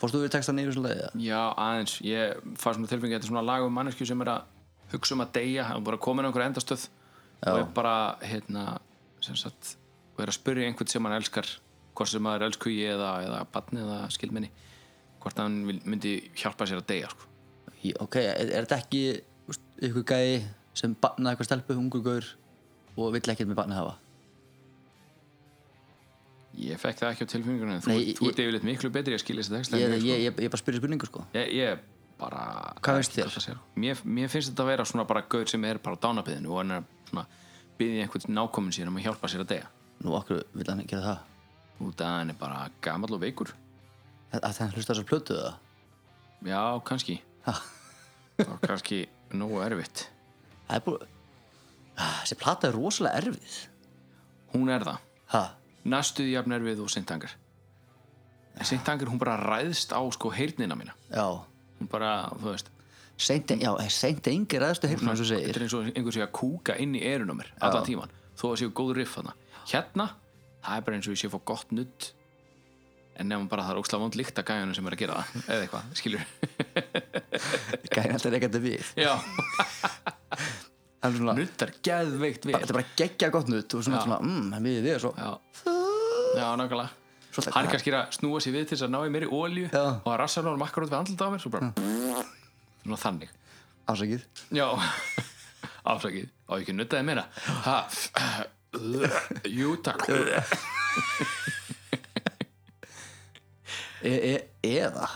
Speaker 6: fórstu við textan yfir þessu lagi eða?
Speaker 7: já, aðeins, ég fæ svona tilfengi þetta er svona lag um mannesku sem er að hugsa um að deyja, hann er bara komin á einhverja endastöð og er bara, hérna sem sagt, og er að spyrja einhvern sem hann elskar hvort sem það er elskugi eða, eða barni eða skilminni hvort hann vil- myndi hjálpa sér að deyja sko.
Speaker 6: Í- ok, er, er þetta ekki úst, ykkur gæi sem bannaði eitthvað stelpu ungur gaur og vill ekkert með bannað hafa
Speaker 7: ég fekk það ekki á tilfinningunum þú,
Speaker 6: Nei,
Speaker 7: Nei, þú
Speaker 6: ég-
Speaker 7: ert yfirleitt miklu betri að skilja þessi texta en
Speaker 6: ég,
Speaker 7: ég,
Speaker 6: ég,
Speaker 7: sko.
Speaker 6: ég, ég, ég bara spyrir spurningu sko
Speaker 7: Ég, ég bara
Speaker 6: Hvað finnst þér?
Speaker 7: Hvað það sé. Mér, mér finnst þetta að vera svona bara gaur sem er bara á dánabiðinu og hann er svona byggði einhvern nákominn sér um að hjálpa sér að deyja
Speaker 6: nú okkur vill hann gera það
Speaker 7: út að hann er bara gamall og veikur
Speaker 6: að, að hann hlusta þessar plötu eða
Speaker 7: já, kannski þá er kannski nógu erfitt
Speaker 6: það er búið Ah, þessi plata er rosalega erfið
Speaker 7: hún er það,
Speaker 6: ha,
Speaker 7: næstuði jafn erfið og sintangar en sintangar hún bara ræðst á sko heyrnina mína
Speaker 6: já
Speaker 7: hún bara, þú veist
Speaker 6: seint, já, eh, seint engi ræðstu heyrna eins og
Speaker 7: þetta
Speaker 6: segir
Speaker 7: er eins og einhver sé að kúka inn í erun á mér allan tíman, þó að séu góð riff þarna hérna, það er bara eins og ég sé að fá gott nudd en nefnum bara að það er ókslega vond líkt að gæjunum sem er að gera það eða eitthvað, skilur
Speaker 6: gæði alltaf reykjandi við
Speaker 7: já,
Speaker 6: það er svona,
Speaker 7: nuddar geðveikt
Speaker 6: bara-
Speaker 7: við
Speaker 6: þetta er bara geggja gott nutt og svona, svona mm, hann við við og svo
Speaker 7: já, já nákvæmlega
Speaker 6: Svolítið-
Speaker 7: hann er kannski að snúa sér við til þess að ná í meiri ólju
Speaker 6: Já.
Speaker 7: og að rassa náður makkar út við andlut á mér svo bara svona þannig
Speaker 6: afsakið
Speaker 7: já, afsakið á ekki að nuddaði meira ha, uh, jú takk
Speaker 6: e, e, eða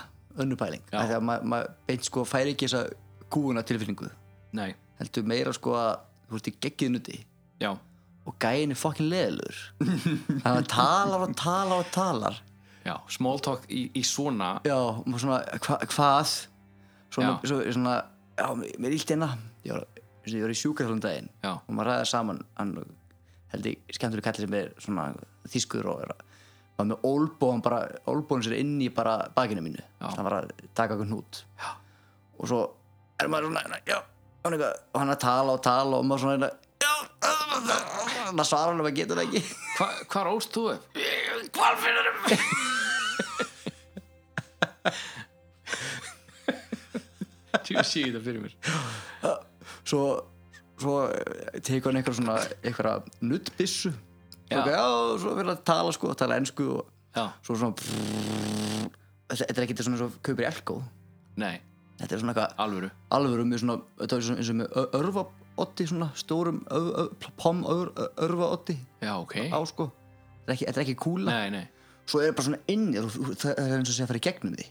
Speaker 6: önnupæling
Speaker 7: Já.
Speaker 6: þegar maður ma, beint sko færi ekki þessa kúuna tilfinningu
Speaker 7: nei,
Speaker 6: heldur meira sko að þú ert í geggið nuti
Speaker 7: já,
Speaker 6: og gæin er fokkin leðilur þannig að talar og talar og talar
Speaker 7: já small talk í, í svona
Speaker 6: já, og maður svona hva, hvað svona,
Speaker 7: Já.
Speaker 6: svo, svona já, mér- mér ílt hérna ég var, ég var í sjúkarhaldum daginn
Speaker 7: Já.
Speaker 6: og maður ræði saman hann held ég skemmtur kallir sem er svona þýskur og er að var með ólbóðan bara, ólbóðan sér inn í bara bakinu mínu, þannig var að taka okkur hnút já. og svo er maður svona, hérna, já, hann eitthvað og hann að tala og tala og maður svona hérna, já, maður svarar hann að maður getur það ekki
Speaker 7: Hva, hvar óst þú upp? Hvar finnur um? Þú sé þetta fyrir mér
Speaker 6: svo, svo tekur hann einhver svona einhverja nuttbissu já.
Speaker 7: Já.
Speaker 6: Okay, já, og svo fyrir að tala sko, tala ensku og
Speaker 7: Já,
Speaker 6: svo svona þetta þetta er ekki svona svo kaupir í elko
Speaker 7: nei,
Speaker 6: þetta er svona eitthvað
Speaker 7: alvöru
Speaker 6: alvöru með svona, þetta er svona eins og með örfaotti svona stórum öf- öf- pom ör- örfaotti
Speaker 7: Já, ok
Speaker 6: á sko þetta er ekki, þetta er ekki kúla
Speaker 7: Nei, nei,
Speaker 6: svo er bara svona inn í þér og þú- það er eins og sé að fara í gegnum því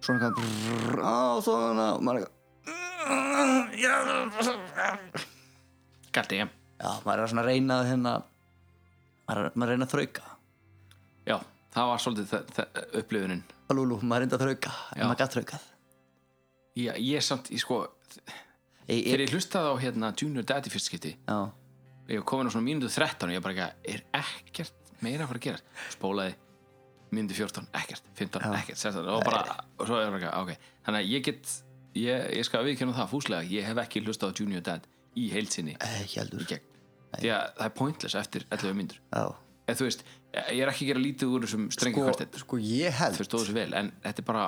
Speaker 6: svona eitthvað á svona og maður er eitthvað
Speaker 7: galt ég
Speaker 6: já, maður er svona að reyna að hérna maður er, maður er að reyna að þrauka
Speaker 7: Já, það var svolítið þe- þe- upplifunin
Speaker 6: alúlú, maður er reynda að þrauka en
Speaker 7: Já.
Speaker 6: maður gætt þraukað
Speaker 7: Já, ég samt, ég sko
Speaker 6: Ég-
Speaker 7: Þegar
Speaker 6: ég-
Speaker 7: ég hlustaði á hérna Junior Daddy fyrst skipti
Speaker 6: já,
Speaker 7: Ég var komin á svona mínútu 13 og ég bara ekki Er ekkert meira að fara að gera Spólaði mínútu 14, ekkert 15, ekkert, 16 Og bara, og svo er bara ekki, ok Þannig að ég get, ég, ég skal viðkjörna það fúslega Ég hef ekki hlustað á Junior Dad í heilsinni
Speaker 6: Eh, ekki heldur
Speaker 7: í gegn Því að það er pointless eftir 11 mínútur
Speaker 6: já
Speaker 7: En þú veist, ég er ekki að gera lítið úr þessum strengi
Speaker 6: sko,
Speaker 7: kvartett
Speaker 6: sko ég held
Speaker 7: Þau stóðu sér vel, en þetta er bara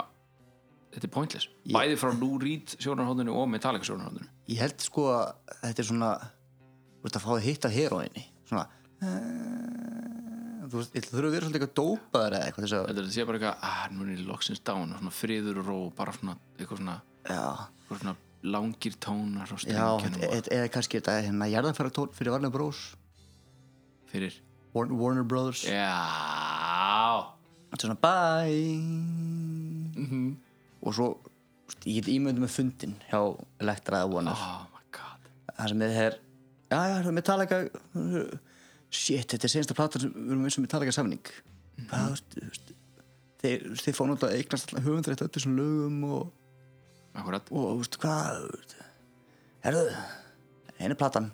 Speaker 7: Þetta er pointless Bæði frá Lou Reed sjónarhóndinu og Metallica sjónarhóndinu
Speaker 6: ég held sko að þetta er svona þú veist að fá að hitta heroinni svona eh, þú veist, þú þurfur að vera svolítið eitthvað dópaður eða eitthvað þess að,
Speaker 7: Þetta sé bara eitthvað, að nú er ég loksins down og Svona friður og ró, og bara svona Eitthvað svona,
Speaker 6: já,
Speaker 7: eitthvað svona langir tónar og
Speaker 6: já
Speaker 7: strengjunum
Speaker 6: þetta-
Speaker 7: og-
Speaker 6: eða kannski þetta er hérna jarðanfæra tón fyrir Warner Bros
Speaker 7: Fyrir,
Speaker 6: Warner, Warner Brothers
Speaker 7: já
Speaker 6: þetta er svona bye og svo ég get ímyndið með fundin hjá Elektra eða Warner
Speaker 7: oh my god
Speaker 6: það sem þið er já, já, það er Metallica shit, þetta er senasta platan sem við erum eins og Metallica samning hvað, þú veist þeir, þeir fóna út að eignast alltaf höfundrætt öllu sem lögum og,
Speaker 7: akkurat
Speaker 6: og þú veist, hvað þú veist, herðu, einu platan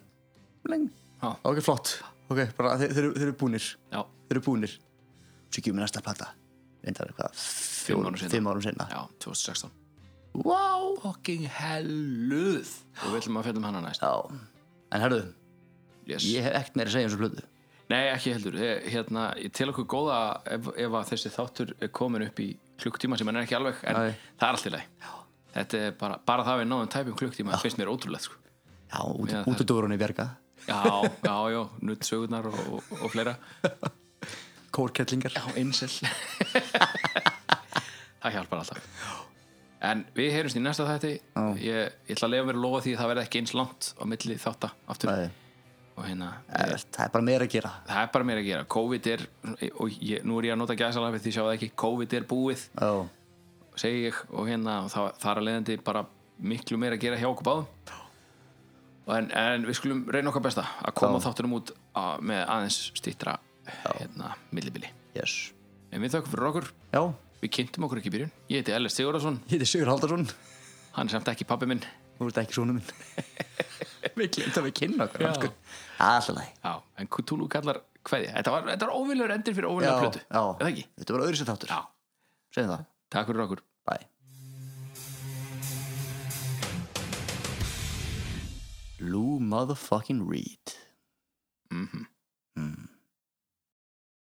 Speaker 6: leng,
Speaker 7: Já.
Speaker 6: ok, flott ok, bara þeir, þeir, eru- þeir eru búnir
Speaker 7: já,
Speaker 6: þeir eru búnir svo gefum við næsta plata reyndar eitthvað
Speaker 7: Fimm árum
Speaker 6: fjórum,
Speaker 7: seinna.
Speaker 6: fimm árum sinna
Speaker 7: já, 2016 wow, fucking helluð og við ætlum að fjallum hana næst
Speaker 6: já, en herðu
Speaker 7: yes.
Speaker 6: ég hef ekkert meira að segja um þessu plötu
Speaker 7: nei, ekki heldur, Eh, hérna ég tel okkur góða ef, ef að þessi þáttur er komin upp í klukktíma sem hann er ekki alveg en
Speaker 6: Nei.
Speaker 7: það er allt í lagi þetta er bara, bara það við náðum tæpum klukktíma finnst mér ótrúlegt sko
Speaker 6: já, út,
Speaker 7: Já, það-
Speaker 6: út úr dórunni bjarga
Speaker 7: já, já, já, nutt sögurnar og, og, og fleira
Speaker 6: kórkettlingar
Speaker 7: á insel það hjálpar alltaf en við heyrumst í næsta þætti ég, ég ætla að leiða mér að lofa því að það verði ekki eins langt á milli þátta aftur
Speaker 6: Nei.
Speaker 7: og hérna,
Speaker 6: það er bara meira að gera
Speaker 7: það er bara mér að gera COVID er, og ég, nú er ég að nota gæsalafið því sjá það ekki, COVID er búið
Speaker 6: já,
Speaker 7: segi ég og hérna og það, það er að leiðandi bara miklu meira að gera hjá okkur báðum en, en við skulum reyna okkar besta að koma þáttunum út að, með aðeins stýttra hérna, millibili
Speaker 6: yes
Speaker 7: en við þökkum fyrir okkur
Speaker 6: já,
Speaker 7: Við kynntum okkur ekki í byrjun. Ég heiti Ellis Sigurðarsson,
Speaker 6: ég heiti Sigur Haldarsson
Speaker 7: hann er samt ekki pabbi minn.
Speaker 6: þú ert ekki svona minn við glemt að við kynna okkur sko. alltaf leið
Speaker 7: Já, en Cthulhu kallar hverja. Þetta var, þetta var óviljur endir fyrir
Speaker 6: já,
Speaker 7: óviljur plötu.
Speaker 6: já,
Speaker 7: Eða ekki?
Speaker 6: þetta var öðru sér þáttur
Speaker 7: Já.
Speaker 6: segjum það,
Speaker 7: Takk fyrir okkur.
Speaker 6: bye Lou motherfucking Reed
Speaker 7: Mhm.